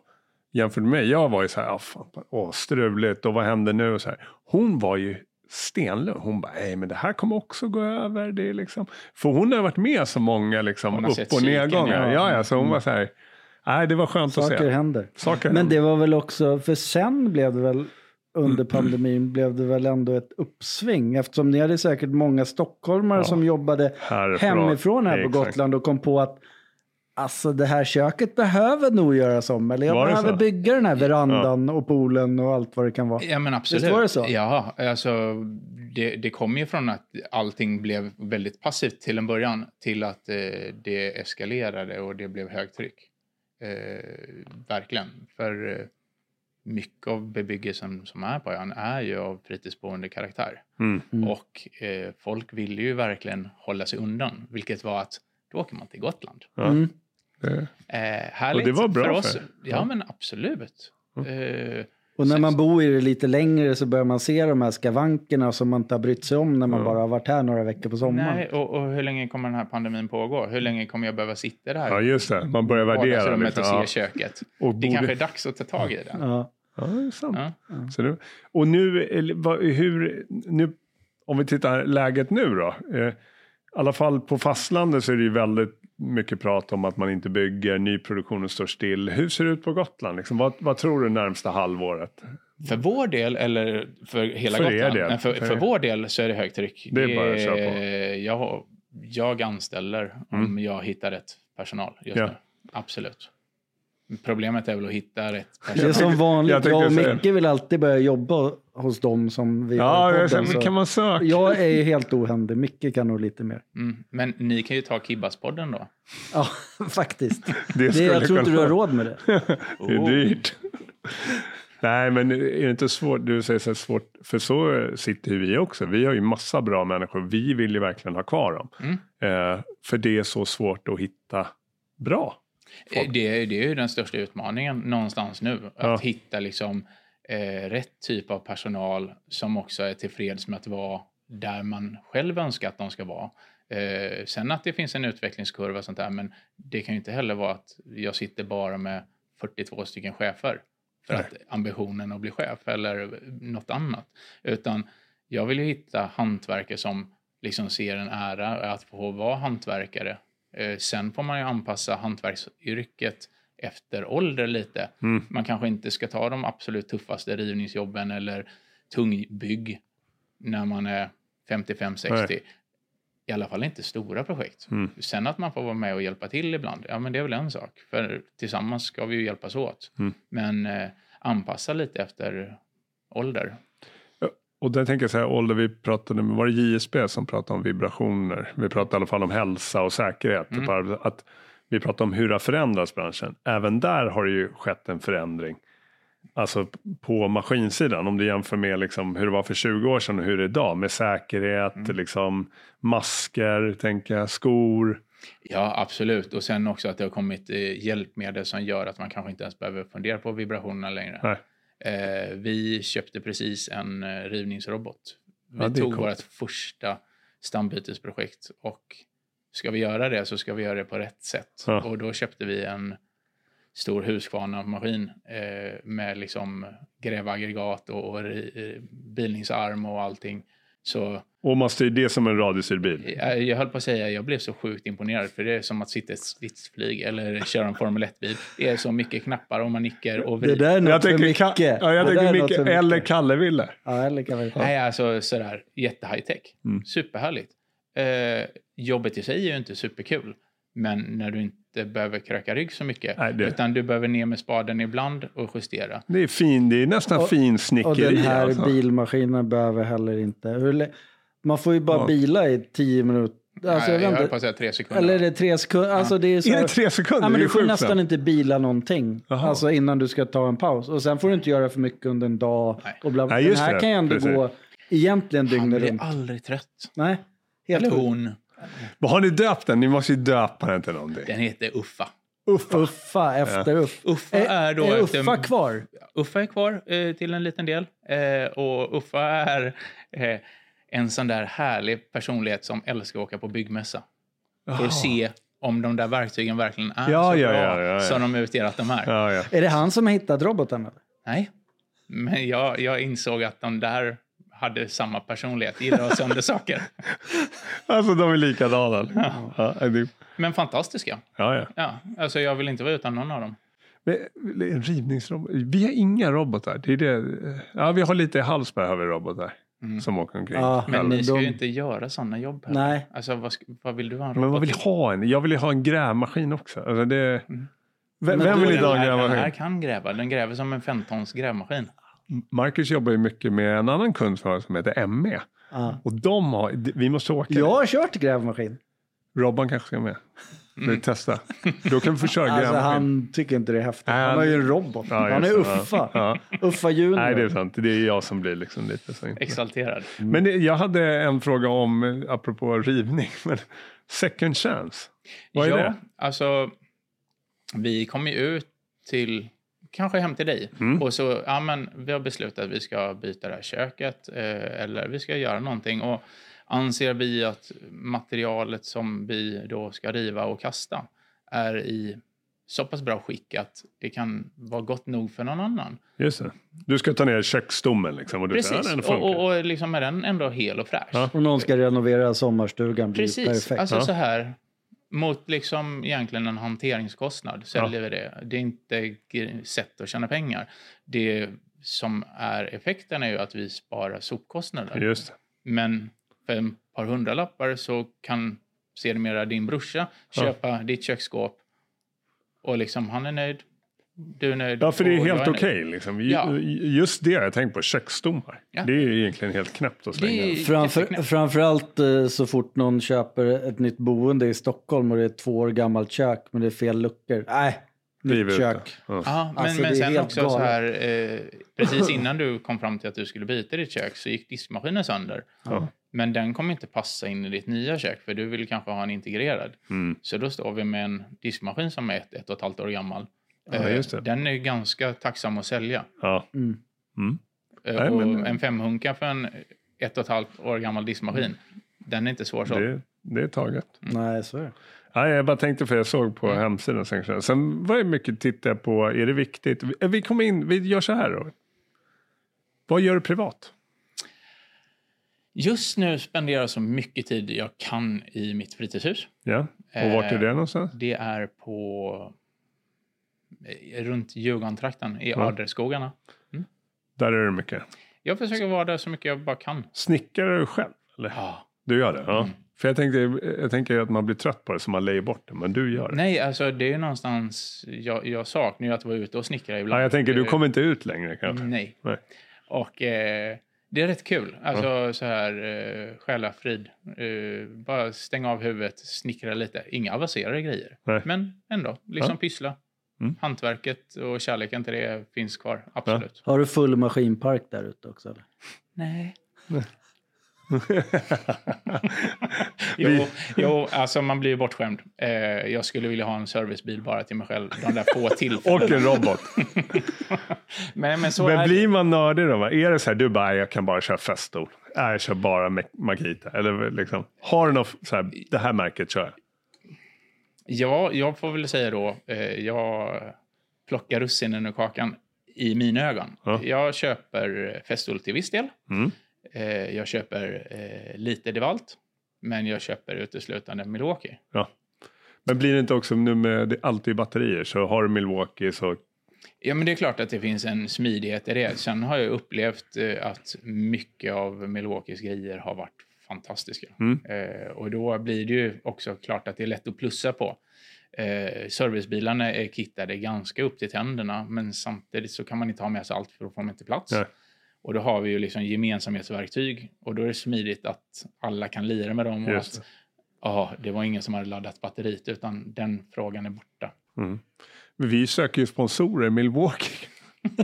S3: jämfört med mig. Jag var ju så här, ah, fan, åh, struligt och vad händer nu? Och så här. Hon var ju stenlugn. Hon bara, nej men det här kommer också gå över. Det är liksom... För hon har varit med så många
S2: Hon
S3: liksom,
S2: har
S3: upp
S2: sett
S3: och
S2: cykeln,
S3: nedgångar.
S2: ja. Mm.
S3: Ja, ja, så hon var så här, nej det var skönt att
S1: Saker
S3: se.
S1: händer.
S3: Saker
S1: Men
S3: händer.
S1: det var väl också, för sen blev det väl under pandemin blev det väl ändå ett uppsving eftersom ni hade säkert många stockholmare
S3: Ja.
S1: som jobbade
S3: Härifrån.
S1: hemifrån här på
S3: Exakt.
S1: Gotland och kom på att alltså det här köket behöver nog göras om eller jag
S3: Var det
S1: behöver
S3: så?
S1: bygga den här verandan och poolen och allt vad det kan vara.
S2: Ja, men absolut.
S1: Visst var det så?
S2: Ja, alltså, det, det kom ju från att allting blev väldigt passivt till en början till att eh, det eskalerade och det blev högtryck. Eh, verkligen. För eh, mycket av bebyggelsen som är på ön är ju av fritidsboende karaktär.
S3: Mm.
S1: Mm.
S2: Och eh, folk ville ju verkligen hålla sig undan, vilket var att då åker man till Gotland.
S3: Ja.
S1: Mm.
S3: Det-
S2: Eh, härligt
S3: det var bra
S2: för oss.
S3: för er.
S2: Ja,
S3: Ja.
S2: men absolut. Eh,
S1: Och när man bor i det lite längre så börjar man se de här skavankerna som man inte har brytt sig om när man bara har varit här några veckor på sommaren.
S2: Nej, och, och hur länge kommer den här pandemin pågå? Hur länge kommer jag behöva sitta i det här
S3: Ja, just det. Man börjar värdera.
S2: vardagsrummet
S3: Liksom.
S2: och se
S3: Ja.
S2: köket? Det
S3: Och borde...
S2: kanske är dags att ta tag i den.
S1: Ja.
S3: Ja, det är sant.
S2: Ja.
S3: Mm. Så nu, och nu, eller vad- hur, nu, om vi tittar läget nu då. Eh, I alla fall på fastlandet så är det ju väldigt mycket prat om att man inte bygger, nyproduktionen står still. Hur ser det ut på Gotland? Liksom? Vad, vad tror du närmsta halvåret?
S2: För vår del, eller för hela
S3: För er
S2: Gotland?
S3: del.
S2: Nej, för,
S3: För
S2: för,
S3: er.
S2: vår del så är det högtryck.
S3: Det är bara att köra på.
S2: Jag, jag anställer om
S3: Mm.
S2: jag hittar rätt personal just
S3: Ja.
S2: nu. Absolut. Problemet är väl att hitta rätt
S1: Det är
S2: personal.
S1: som vanligt,
S3: jag
S1: jag,
S3: tänkte
S1: och
S3: säga
S1: Micke vill alltid börja jobba hos dem som vi har
S3: Ja,
S1: i podden.
S3: jag, säger,
S1: så-
S3: kan man söka?
S1: Jag är ju helt ohändig, Micke kan nog lite mer.
S2: Mm. Men ni kan ju ta Kibbas-podden då.
S1: Ja, faktiskt.
S3: Det
S1: Det,
S3: skulle
S1: jag tror inte du
S3: kunna-
S1: har råd med det.
S3: Det
S1: Oh.
S3: är dyrt. Nej, men är det inte svårt? Du säger så här svårt, för så sitter ju vi också. Vi har ju massa bra människor. Vi vill ju verkligen ha kvar dem.
S2: Mm.
S3: Eh, för det är så svårt att hitta bra.
S2: Eh, Det, det är ju den största utmaningen någonstans nu. Att
S3: Ja.
S2: hitta liksom, eh, rätt typ av personal som också är tillfreds med att vara där man själv önskar att de ska vara. Eh, sen att det finns en utvecklingskurva och sånt där, men det kan ju inte heller vara att jag sitter bara med 42 stycken chefer för
S3: Nej.
S2: att ambitionen att bli chef eller något annat. Utan jag vill ju hitta hantverkare som liksom ser en ära att få vara hantverkare. Eh, sen får man ju anpassa hantverksyrket efter ålder lite.
S3: Mm.
S2: Man kanske inte ska ta de absolut tuffaste rivningsjobben eller tungbygg när man är 55-60.
S3: Nej.
S2: I alla fall inte stora projekt.
S3: Mm.
S2: Sen att man får vara med och hjälpa till ibland, ja men det är väl en sak. För tillsammans ska vi ju hjälpas åt.
S3: Mm.
S2: Men eh, anpassa lite efter ålder.
S3: Och där tänker jag så här, ålder vi pratade med, var det JSB som pratade om vibrationer? Vi pratade i alla fall om hälsa och säkerhet.
S2: Mm.
S3: på arbets- Att vi pratade om hur det har förändrats branschen. Även där har det ju skett en förändring. Alltså på maskinsidan, om du jämför med liksom hur det var för 20 år sedan och hur det är idag. Med säkerhet,
S1: Mm.
S3: liksom, masker, tänker jag, skor.
S2: Ja, absolut. Och sen också att det har kommit eh, hjälpmedel som gör att man kanske inte ens behöver fundera på vibrationerna längre. Eh, vi köpte precis en eh, rivningsrobot. Vi
S3: Ja, det är
S2: tog
S3: coolt.
S2: vårt första stambytesprojekt och ska vi göra det så ska vi göra det på rätt sätt.
S3: Ja.
S2: Och då köpte vi en stor Husqvarna-maskin eh, med liksom grävaggregat och, och ri- eh, bilningsarm och allting. Så
S3: Och man styr det som en radiostyrd bil.
S2: Eh, jag, jag höll på att säga jag blev så sjukt imponerad för det är som att sitta i ett stridsflyg eller köra en Formel 1-bil. Det är så mycket knappar och manicker och
S1: Det
S2: vrider.
S1: där är något
S3: Jag
S1: för
S3: tänker,
S1: Micke.
S3: Ka- ja, jag
S1: Det där
S3: tänker
S1: är något
S3: Micke
S1: för Micke.
S3: eller Kalle-Ville.
S1: Ja, eller kan vi
S2: Nej, alltså sådär jätte-high-tech.
S3: Mm.
S2: Superhärligt. Eh, jobbet i sig är ju inte superkul, men när du inte behöver kröka rygg så mycket,
S3: Nej, det-
S2: utan du behöver ner med spaden ibland och
S1: Alltså,
S2: justera.
S3: Det är, fin, det är nästan
S1: Och-
S3: finsnickeri.
S1: Och den här
S3: alltså.
S1: bilmaskinen behöver heller inte... Hur, lä- man får ju bara
S3: Ja.
S1: bila i tio minuter. Alltså,
S2: Nej,
S1: jag
S2: jag
S1: vet
S2: höll på att
S1: inte.
S2: säga tre sekunder.
S1: Eller är det tre sekunder? Alltså, det är så
S3: Är
S1: här-
S3: det tre sekunder?
S1: Ja, men
S3: det är
S1: du får
S3: sjukt
S1: nästan
S3: snabbt.
S1: inte bila någonting
S3: Jaha.
S1: alltså innan du ska ta en paus. Och sen får du inte göra för mycket under en dag.
S2: Nej.
S1: Och bla, bla.
S3: Nej, just
S1: den här
S3: det.
S1: kan ju ändå
S3: Precis.
S1: gå egentligen
S2: Han
S1: dygnet
S2: blir
S1: runt.
S2: aldrig trött.
S1: Nej, helt
S2: Eller
S1: sjukt.
S2: hon.
S3: Vad har ni döpt den? Ni måste ju döpa den till någonting.
S2: Den heter Uffa.
S3: Uffa.
S1: Uffa efter uff.
S2: Uffa
S1: Är,
S2: är då...
S1: är
S2: efter-
S1: Uffa kvar?
S2: Uffa är kvar eh, till en liten del. Eh, och Uffa är eh, en sån där härlig personlighet som älskar att åka på byggmässa. För
S3: Jaha.
S2: att se om de där verktygen verkligen är
S3: Ja,
S2: så
S3: ja,
S2: bra
S3: ja, ja, ja.
S2: som de utger att de är.
S3: Ja, ja.
S1: Är det han som har hittat roboten? eller?
S2: Nej, men jag, jag insåg att de där hade samma personlighet, gillar att ha sönder saker.
S3: Alltså de är likadana. Ja, det-
S2: Men fantastiska.
S3: ja, ja.
S2: Ja, alltså jag vill inte vara utan någon av dem.
S3: Men, en rivningsrobot. Vi har inga robotar. Det är det. Ja, vi har lite i Hallsberg har vi robotar
S2: Mm.
S3: som åker omkring.
S1: Ja,
S2: Men ni ska
S1: de-
S2: ju inte göra sådana jobb. Här.
S1: Nej.
S2: Alltså, vad, sk- vad vill du ha en
S3: Men vad
S2: robot
S3: vill jag ha en? Jag vill ju ha en grävmaskin också. Alltså, det...
S2: Mm.
S3: Vem,
S1: Men
S3: vem
S1: då
S3: vill
S1: är
S3: inte ha
S2: den,
S3: en
S2: här, den här
S3: grävmaskin?
S2: kan gräva. Den gräver som en 15-tons grävmaskin.
S3: Marcus jobbar ju mycket med en annan kund för oss som heter ME.
S1: Ja.
S3: Och de har, vi måste åka.
S1: Jag har kört grävmaskin.
S3: Robban kanske ska med.
S2: Mm.
S3: Vi testa. Då kan vi få köra
S1: Alltså
S3: grävmaskin.
S1: han tycker inte det är häftigt.
S3: Nej,
S1: Han har ju en robot.
S3: Ja,
S1: han
S3: just
S1: är
S3: det, ja.
S1: Uffa.
S3: Ja.
S1: Uffa junior.
S3: Nej, det är sant. Det är jag som blir liksom lite så.
S2: Exalterad.
S3: Men det- jag hade en fråga om, eh, apropå rivning, men second chance. Vad är
S2: ja,
S3: det?
S2: alltså vi kom ju ut till, kanske hem till dig.
S3: Mm.
S2: Och så, ja men vi har beslutat att vi ska byta det här köket eh, eller vi ska göra någonting. Och anser vi att materialet som vi då ska riva och kasta är i så pass bra skick att det kan vara gott nog för någon annan.
S3: Just det. Du ska ta ner köksstommen liksom. Och du säger, "Ja,
S2: Precis,
S3: den
S2: och,
S3: funkar."
S2: och, och liksom är den ändå hel och fräsch.
S3: Ja.
S1: Om någon ska renovera sommarstugan blir det
S2: Precis,
S1: perfekt.
S2: alltså
S3: Ja.
S2: så här. Mot liksom egentligen en hanteringskostnad säljer vi det. Det är inte gr- sätt att tjäna pengar. Det som är effekten är ju att vi sparar sopkostnader.
S3: Just det.
S2: Men för en par hundralappar så kan sedermera din brorsa
S3: Ja.
S2: köpa ditt köksskåp och liksom han är nöjd, du är nöjd.
S3: Ja, för det är
S2: och jag
S3: helt
S2: nöjd.
S3: okej. liksom. Ju-
S2: Ja.
S3: Just det har jag tänkt på, köksstommar.
S2: Ja.
S3: Det är ju egentligen helt knäppt att slänga.
S2: Det är
S1: Framför,
S2: jätteknäppt.
S1: framförallt eh, så fort någon köper ett nytt boende i Stockholm och det är två år gammalt kök men det är fel luckor. Nej,
S3: Riv
S1: nytt
S3: ut
S1: kök.
S3: det. Ja.
S2: Ja, men,
S1: Alltså, det
S2: men
S1: är
S2: sen
S1: helt
S2: också så här, eh, precis innan du kom fram till att du skulle byta ditt kök så gick diskmaskinen sönder.
S3: Ja.
S2: Men den kommer inte passa in i ditt nya kök för du vill kanske ha en integrerad.
S5: Mm.
S2: Så då står vi med en diskmaskin som är ett, ett och ett halvt år gammal.
S3: Ja,
S2: Eh,
S3: just det.
S2: Den är ju ganska tacksam att sälja.
S5: Ja.
S1: Mm.
S5: Mm.
S2: Eh,
S3: Nej,
S2: och
S3: men-
S2: en femhunka för en ett och ett halvt år gammal diskmaskin, den är inte svårsåld.
S3: Det, det är taget.
S2: Mm.
S1: Nej, så är det.
S3: Nej, jag bara tänkte för jag såg på hemsidan. Sen, kanske. sen var det mycket titta på, är det viktigt? Vi- eh, Vi kommer in, vi gör så här då. Vad gör du privat?
S2: Just nu spenderar jag så mycket tid jag kan i mitt fritidshus.
S3: Ja, och vart är det någonstans?
S2: Det är på eh, runt Djurgårdentrakten i
S3: Ja.
S2: Adlerskogarna.
S3: Där är det mycket.
S2: Jag försöker vara där så mycket jag bara kan.
S3: Snickrar du själv? Eller?
S2: Ja.
S3: Du gör det? Ja. För jag tänkte, jag tänker ju att man blir trött på det så man lägger bort det. Men du gör det.
S2: Nej, alltså det är ju någonstans jag, jag saknar ju att vara ute och snickra ibland.
S3: Ja, jag tänker, du
S2: Eh,
S3: kommer inte ut längre kanske?
S2: Nej.
S3: Nej.
S2: Och eh, det är rätt kul. Alltså så här eh, själafrid. Eh, bara stänga av huvudet, snickra lite. Inga avancerade grejer.
S3: Nej.
S2: Men ändå, liksom pyssla.
S5: Mm.
S2: Hantverket och kärleken till det finns kvar. Absolut.
S1: Har du full maskinpark där ute också? Eller?
S2: Nej. jo, jo, alltså man blir ju bortskämd. Eh, jag skulle vilja ha en servicebil bara till mig själv. De där få
S3: Och
S2: tillfällena.
S3: en robot.
S2: Men, men så är
S3: Men
S2: det.
S3: blir man nördig då? Va? Är det så här, du bara, jag kan bara köra feststol. Nej, jag kör bara Mac- Makita. Eller liksom, har du något så här, det här märket kör jag.
S2: Ja, jag får väl säga då, eh, jag plockar russinen ur kakan i mina ögon.
S3: Ja.
S2: Jag köper Festool till viss del.
S3: Mm.
S2: Eh, jag köper eh, lite Devalt, men jag köper uteslutande Milwaukee.
S3: Men blir det inte också nu med det är alltid batterier så har du Milwaukee så
S2: Ja, men det är klart att det finns en smidighet i det. Sen har jag upplevt eh, att mycket av Milwaukees grejer har varit fantastiska.
S3: Mm.
S2: Eh, och då blir det ju också klart att det är lätt att plussa på. Eh, servicebilarna är kittade ganska upp till tänderna, men samtidigt så kan man inte ha med sig allt för då får man inte plats.
S3: Nej.
S2: Och då har vi ju liksom gemensamhetsverktyg och då är det smidigt att alla kan lira med dem och
S3: Just
S2: att ja, det var ingen som hade laddat batteriet utan den frågan är borta.
S3: mm. Vi söker ju sponsorer i Milwaukee.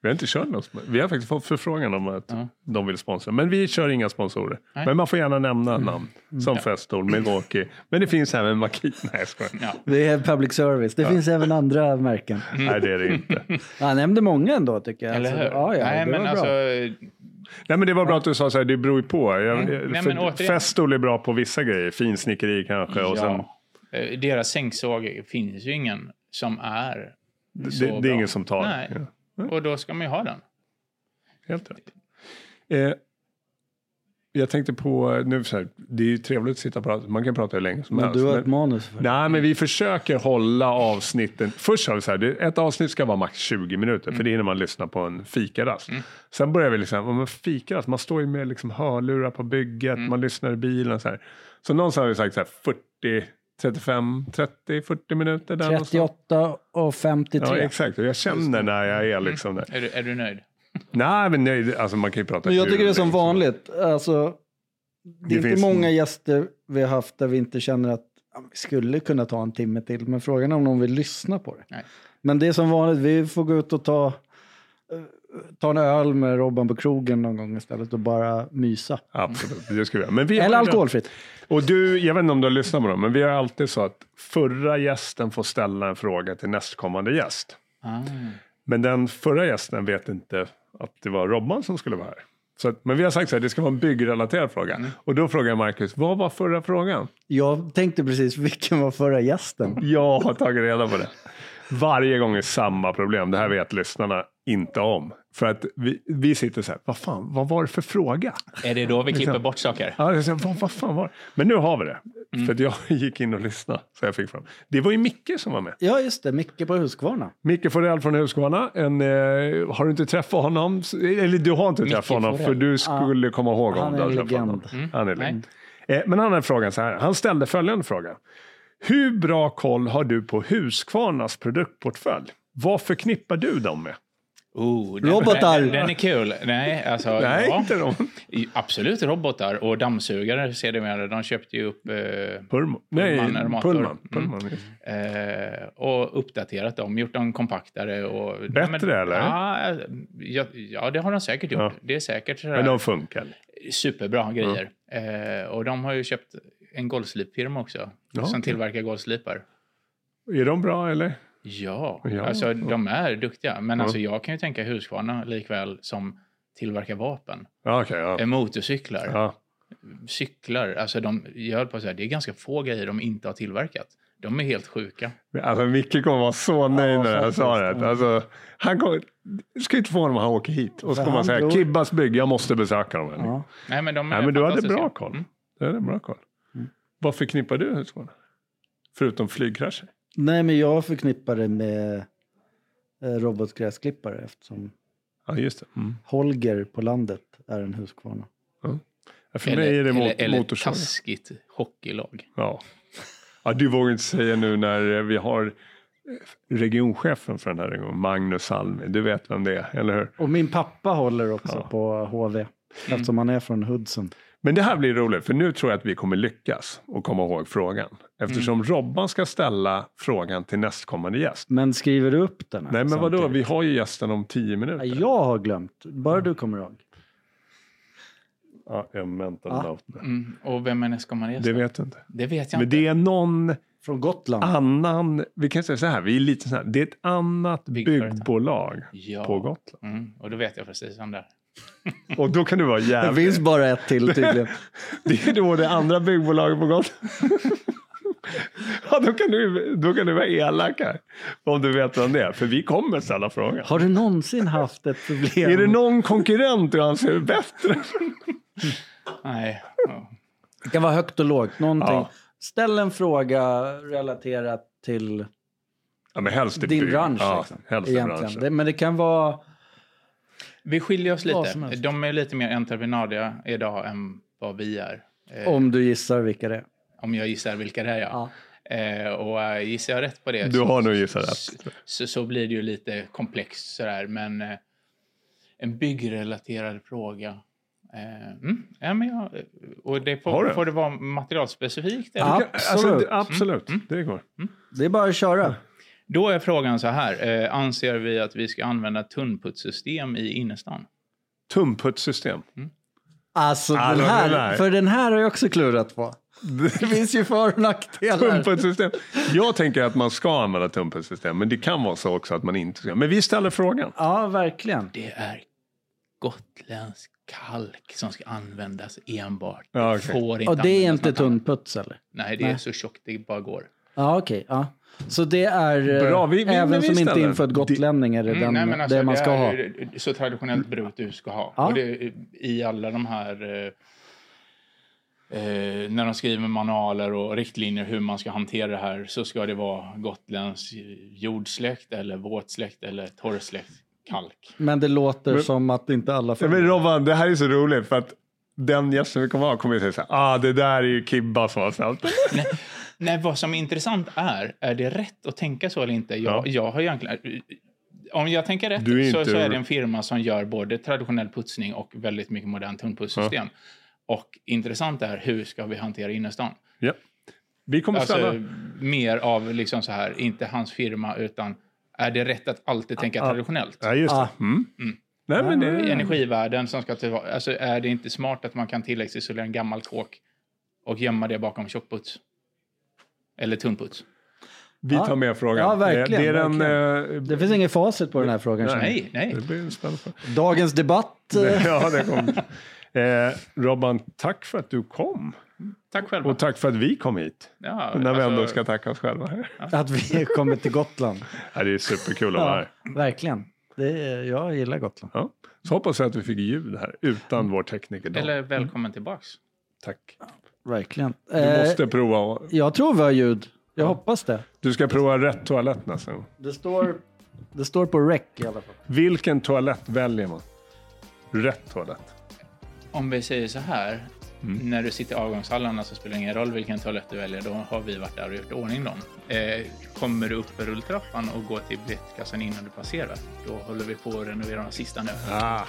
S3: vi har inte kört någon. spon- Vi har faktiskt fått förfrågan om att
S2: Ja.
S3: de vill sponsra. Men vi kör inga sponsorer.
S2: Nej. Mm.
S3: Men man får gärna nämna namn. Som Festool, Milwaukee. Men det finns även Makita. Nej, jag skojar.
S2: Ja.
S1: Det är public service. Det finns även andra märken.
S3: Nej, det är det inte.
S1: Han nämnde många ändå tycker jag.
S2: Eller hur?
S1: Alltså, ja, ja,
S2: Nej,
S1: det
S2: men
S1: var
S2: alltså,
S1: bra.
S3: Nej, men det var bra att du sa så här, det beror ju på. Jag,
S2: Mm. Nej,
S3: för
S2: men återigen-
S3: Festool är bra på vissa grejer. Finsnickeri kanske. Och sen,
S2: ja. Eh, Deras sänksåg finns ju ingen som är så
S3: det, det är
S2: bra.
S3: ingen som tar
S2: Nej.
S3: det. Ja.
S2: Och då ska man ju ha den.
S3: Helt rätt. Eh, jag tänkte på, nu så här, det är ju trevligt att sitta och prata, man kan prata hur länge som
S1: Men
S3: helst.
S1: du har
S3: men-
S1: ett manus för det.
S3: Nej, men vi försöker hålla avsnitten. Först har vi så här, det- ett avsnitt ska vara max 20 minuter, för det är när man lyssnar på en fikarast. Sen börjar vi liksom, ja, men fikarast, man står ju med liksom hörlurar på bygget, man lyssnar i bilen så här. Så någonstans har vi sagt så här 40, 35, 30, 40 minuter. Där någonstans.
S1: 38 och 53.
S3: Ja, exakt. Och jag känner när jag är liksom där.
S2: Är du, är du nöjd?
S3: Nej, men nej, alltså man kan ju prata
S1: Men jag
S3: hur
S1: tycker det är
S3: länge
S1: som vanligt. Alltså, det är
S3: Det
S1: inte
S3: finns-
S1: många gäster vi har haft där vi inte känner att ja, vi skulle kunna ta en timme till. Men frågan är om någon vill lyssna på det.
S2: Nej.
S1: Men det är som vanligt, vi får gå ut och ta, eh, ta en öl med Robban på krogen någon gång istället och bara mysa.
S3: Absolut, det ska vi göra. Men vi har
S1: Eller
S3: ju-
S1: alkoholfritt.
S3: Och du, jag vet inte om du har lyssnat på dem, men vi har alltid så att förra gästen får ställa en fråga till nästkommande gäst.
S2: Ah.
S3: Men den förra gästen vet inte att det var Robban som skulle vara här. Så att, men vi har sagt så här, det ska vara en byggrelaterad fråga. Och då frågar Marcus, vad var förra frågan?
S1: Jag tänkte precis, vilken var förra gästen?
S3: Jag har tagit reda på det. Varje gång är samma problem. Det här vet lyssnarna inte om. För att vi, vi sitter så här, vad fan, vad var det för fråga?
S2: Är det då vi klipper bort saker?
S3: Ja, jag sa, vad, vad fan var det? Men nu har vi det. För att jag gick in och lyssnade. Så jag fick fram. Det var ju Micke som var med.
S1: Ja, just det, Micke på Huskvarna.
S3: Micke Forell från Huskvarna. En, eh, har du inte träffat honom? s- Eller du har inte träffat honom
S2: Forell.
S3: för du skulle komma ihåg
S1: han
S3: honom. om du
S1: är en
S3: hade träffat
S1: legend.
S3: honom. Han
S2: nej.
S3: är legend. Eh, men han hade frågan så här. Han ställde följande fråga. Hur bra koll har du på Huskvarnas produktportfölj? Vad förknippar du dem med?
S2: Oh, den,
S1: Robotar!
S2: Den, den är kul. Nej, alltså,
S3: Nej,
S2: ja.
S3: inte dem.
S2: I- Absolut robotar och dammsugare ser det med. De köpte ju upp eh,
S3: Purmo. Nej, Pullman.
S2: armator.
S3: Pullman.
S2: Mm. eh, och uppdaterat dem, gjort dem kompaktare. Och,
S3: Bättre, eller?
S2: eh, Ja, ja, ja, det har de säkert gjort.
S3: Ja.
S2: Det är säkert sådär.
S3: Men de funkar.
S2: Superbra grejer. Eh, och de har ju köpt en golvslipfirma också
S3: Ja,
S2: som
S3: okej.
S2: tillverkar golvslipar.
S3: Är de bra eller?
S2: Ja,
S3: Ja.
S2: alltså de är duktiga. Men
S3: Ja.
S2: alltså jag kan ju tänka Husqvarna likväl som tillverkar vapen.
S3: Ja, okej. ja.
S2: Eh, Motorcyklar,
S3: ja.
S2: cyklar. Alltså de, jag höll på att säga, det är ganska få grejer de inte har tillverkat. De är helt sjuka.
S3: Alltså Micke kommer vara så nöjd
S1: Ja,
S3: när det här
S1: faktiskt.
S3: svaret. Alltså, han kommer, det ska ju inte få honom om han åker hit. Och
S1: För
S3: så kommer han
S1: han
S3: säga,
S1: tror-
S3: Kibbas bygg, jag måste besöka dem. här."
S1: Ja.
S2: Nej, men de är
S3: Nej, men du hade
S2: fantastiska.
S3: bra koll.
S2: Mm.
S3: Det är bra koll.
S1: Mm.
S3: Vad förknippar du Husqvarna? Förutom flygkrascher?
S1: Nej, men jag förknippar det med eh, robotgräsklippare eftersom
S3: Ja, just det. Mm.
S1: Holger på landet är en Husqvarna.
S3: Ja, För mig är det mot,
S2: eller, eller
S3: motorsåg.
S2: taskigt hockeylag.
S3: Ja. ja, du vågar inte säga nu när eh, vi har eh, regionchefen för den här regionen, Magnus Almi. Du vet vem det är, eller hur?
S1: Och min pappa håller också
S3: Ja. Mm.
S1: på HV eftersom han är från Hudson.
S3: Men det här blir roligt, för nu tror jag att vi kommer lyckas och komma ihåg frågan. Eftersom Robban ska ställa frågan till nästkommande gäst.
S1: Men skriver du upp den? Här
S3: Nej, men vadå?
S1: samtidigt?
S3: Vi har ju gästen om tio minuter.
S1: Ja, Jag har glömt. Bara du kommer ihåg.
S3: Ja, jag mental
S1: Ja.
S3: note nu.
S2: Mm. Och vem är nästkommande gäst?
S3: Det
S2: Det,
S3: vet jag inte.
S2: vet jag
S3: Men
S2: inte.
S3: det är någon
S1: Från Gotland.
S3: Ah, annan... Vi kan säga så här, vi är lite så här. Det är ett annat
S2: Byggföretag.
S3: byggbolag
S2: Ja.
S3: på Gotland.
S2: Mm. Och då vet jag precis vem det är.
S3: Och då kan du vara
S1: Det
S3: jävligt...
S1: finns bara ett till tydligen.
S3: Det är då det andra byggbolaget på Gotland. Ja, då, kan du, då kan du vara elak här. Om du vet vem det är. För vi kommer ställa frågan.
S1: Har du någonsin haft ett problem?
S3: Är det någon konkurrent du anser är bättre?
S2: Nej. Ja.
S1: Det kan vara högt och lågt. Någonting.
S3: Ja.
S1: Ställ en fråga relaterat till
S3: Ja, men helst ett
S1: din
S3: bygg.
S1: bransch.
S3: Ja,
S1: liksom,
S3: helst ett bransch.
S1: egentligen. Det, men det kan vara...
S2: Vi skiljer oss
S1: Vad som
S2: lite.
S1: helst.
S2: De är lite mer entreprenadiga idag än vad vi är. Eh, om.
S1: Om du gissar vilka det är.
S2: jag gissar vilka det är, ja. Eh, och eh, gissar jag rätt på det
S3: Du
S2: så-
S3: har nog gissat
S2: så,
S3: rätt.
S2: så, så blir det ju lite komplext sådär. Men eh, en byggrelaterad fråga. Eh, mm, ja, men jag, och det
S3: Har
S2: får,
S3: du?
S2: får det vara materialspecifikt? Eller?
S1: Ja.
S3: Du kan- Alltså,
S1: Absolut.
S3: det- absolut. Det går.
S1: Det är bara att köra.
S2: Då är frågan så här. Eh, anser vi att vi ska använda tunnputssystem i innerstan?
S3: Tumputssystem.
S1: Alltså,
S3: Ja, det
S1: den
S3: var
S1: här,
S3: den där.
S1: för den här har jag också klurat på. Det finns ju för och nackdelar.
S3: Tumputssystem. Jag tänker att man ska använda tumputssystem, men det kan vara så också att man inte ska. Men vi ställer frågan.
S1: Ja, verkligen.
S2: Det är gotländsk kalk som ska användas enbart.
S3: Ja,
S2: Det
S3: okej.
S2: Får inte
S1: Och det är
S2: användas
S1: inte
S2: något annat.
S1: tunnputs eller?
S2: Nej, det är
S1: Nej.
S2: så tjockt det bara går.
S1: Ja, okej. ja. Så det är, eh,
S3: Bra, vi- vi-
S1: även
S3: men vi
S1: som inte
S3: ställer.
S1: är infödd gotlänning, är det,
S2: Mm,
S1: den,
S2: nej, men alltså,
S1: det man ska
S2: det
S1: ha?
S2: är ju Så traditionellt bruk du ska ha.
S1: Ja.
S2: Och det, eh, I alla de här... eh, Eh, när de skriver manualer och riktlinjer hur man ska hantera det här så ska det vara Gotlands jordsläkt eller våtsläkt eller torrsläkt kalk.
S1: Men det låter
S3: Men-
S1: som att inte alla
S3: Ja, Men
S1: följer.
S3: Robban, det här är så roligt för att den gästen vi kommer ha kommer ju säga så här, ah det där är ju Kibba som har ställt det."
S2: Nej, vad som är intressant är, är det rätt att tänka så eller inte? Jag,
S3: Ja.
S2: jag har egentligen... eh, Om jag tänker rätt
S3: Du är
S2: så,
S3: inte-
S2: så är det en firma som gör både traditionell putsning och väldigt mycket modernt tunnputssystem. Och intressant är hur ska vi hantera innerstan?
S3: Ja. Vi kommer
S2: Alltså
S3: ställa.
S2: mer av liksom så här, inte hans firma utan är det rätt att alltid tänka traditionellt?
S3: Ja, just det.
S1: Ah.
S3: Mm. Nej, men
S2: I
S3: det
S2: energivärlden som ska till, alltså är det inte smart att man kan tilläggsisolera en gammal kåk och gömma det bakom tjockputs? Eller tunnputs?
S3: vi tar med frågan.
S1: Ja, verkligen,
S3: Det är den, eh,
S1: Det finns inget facit på den här frågan. känner jag.
S2: Nej, nej.
S3: Det blir en spännande fråga.
S1: Dagens debatt. eh,
S3: Ja, det kommer. Eh, Robban, tack för att du kom.
S2: Tack själva.
S3: Och tack för att vi kom hit.
S2: Ja,
S3: När vi
S2: alltså,
S3: ändå ska tacka oss själva. här.
S1: eh, Att vi kommer till Gotland.
S3: Ja, det är superkul att vara
S1: Ja,
S3: här.
S1: verkligen. Det är, jag gillar Gotland.
S3: Ja. Så hoppas jag att vi fick ljud här utan vår tekniker. Dan.
S2: Eller välkommen tillbaks.
S3: Tack.
S1: Verkligen.
S3: Du
S1: Eh,
S3: måste prova.
S1: Jag tror vi har ljud. Jag hoppas det.
S3: Du ska prova rätt toalett nästa gång.
S1: Det står, det står på rec i alla fall.
S3: Vilken toalett väljer man? Rätt toalett.
S2: Om vi säger så här.
S3: Mm.
S2: När du sitter i avgångshallarna så spelar det ingen roll vilken toalett du väljer. Då har vi varit där och gjort ordning dem. Eh, kommer du upp för rulltrappan och går till biljettkassan innan du passerar. Då håller vi på att renovera de sista nu.
S3: Ah,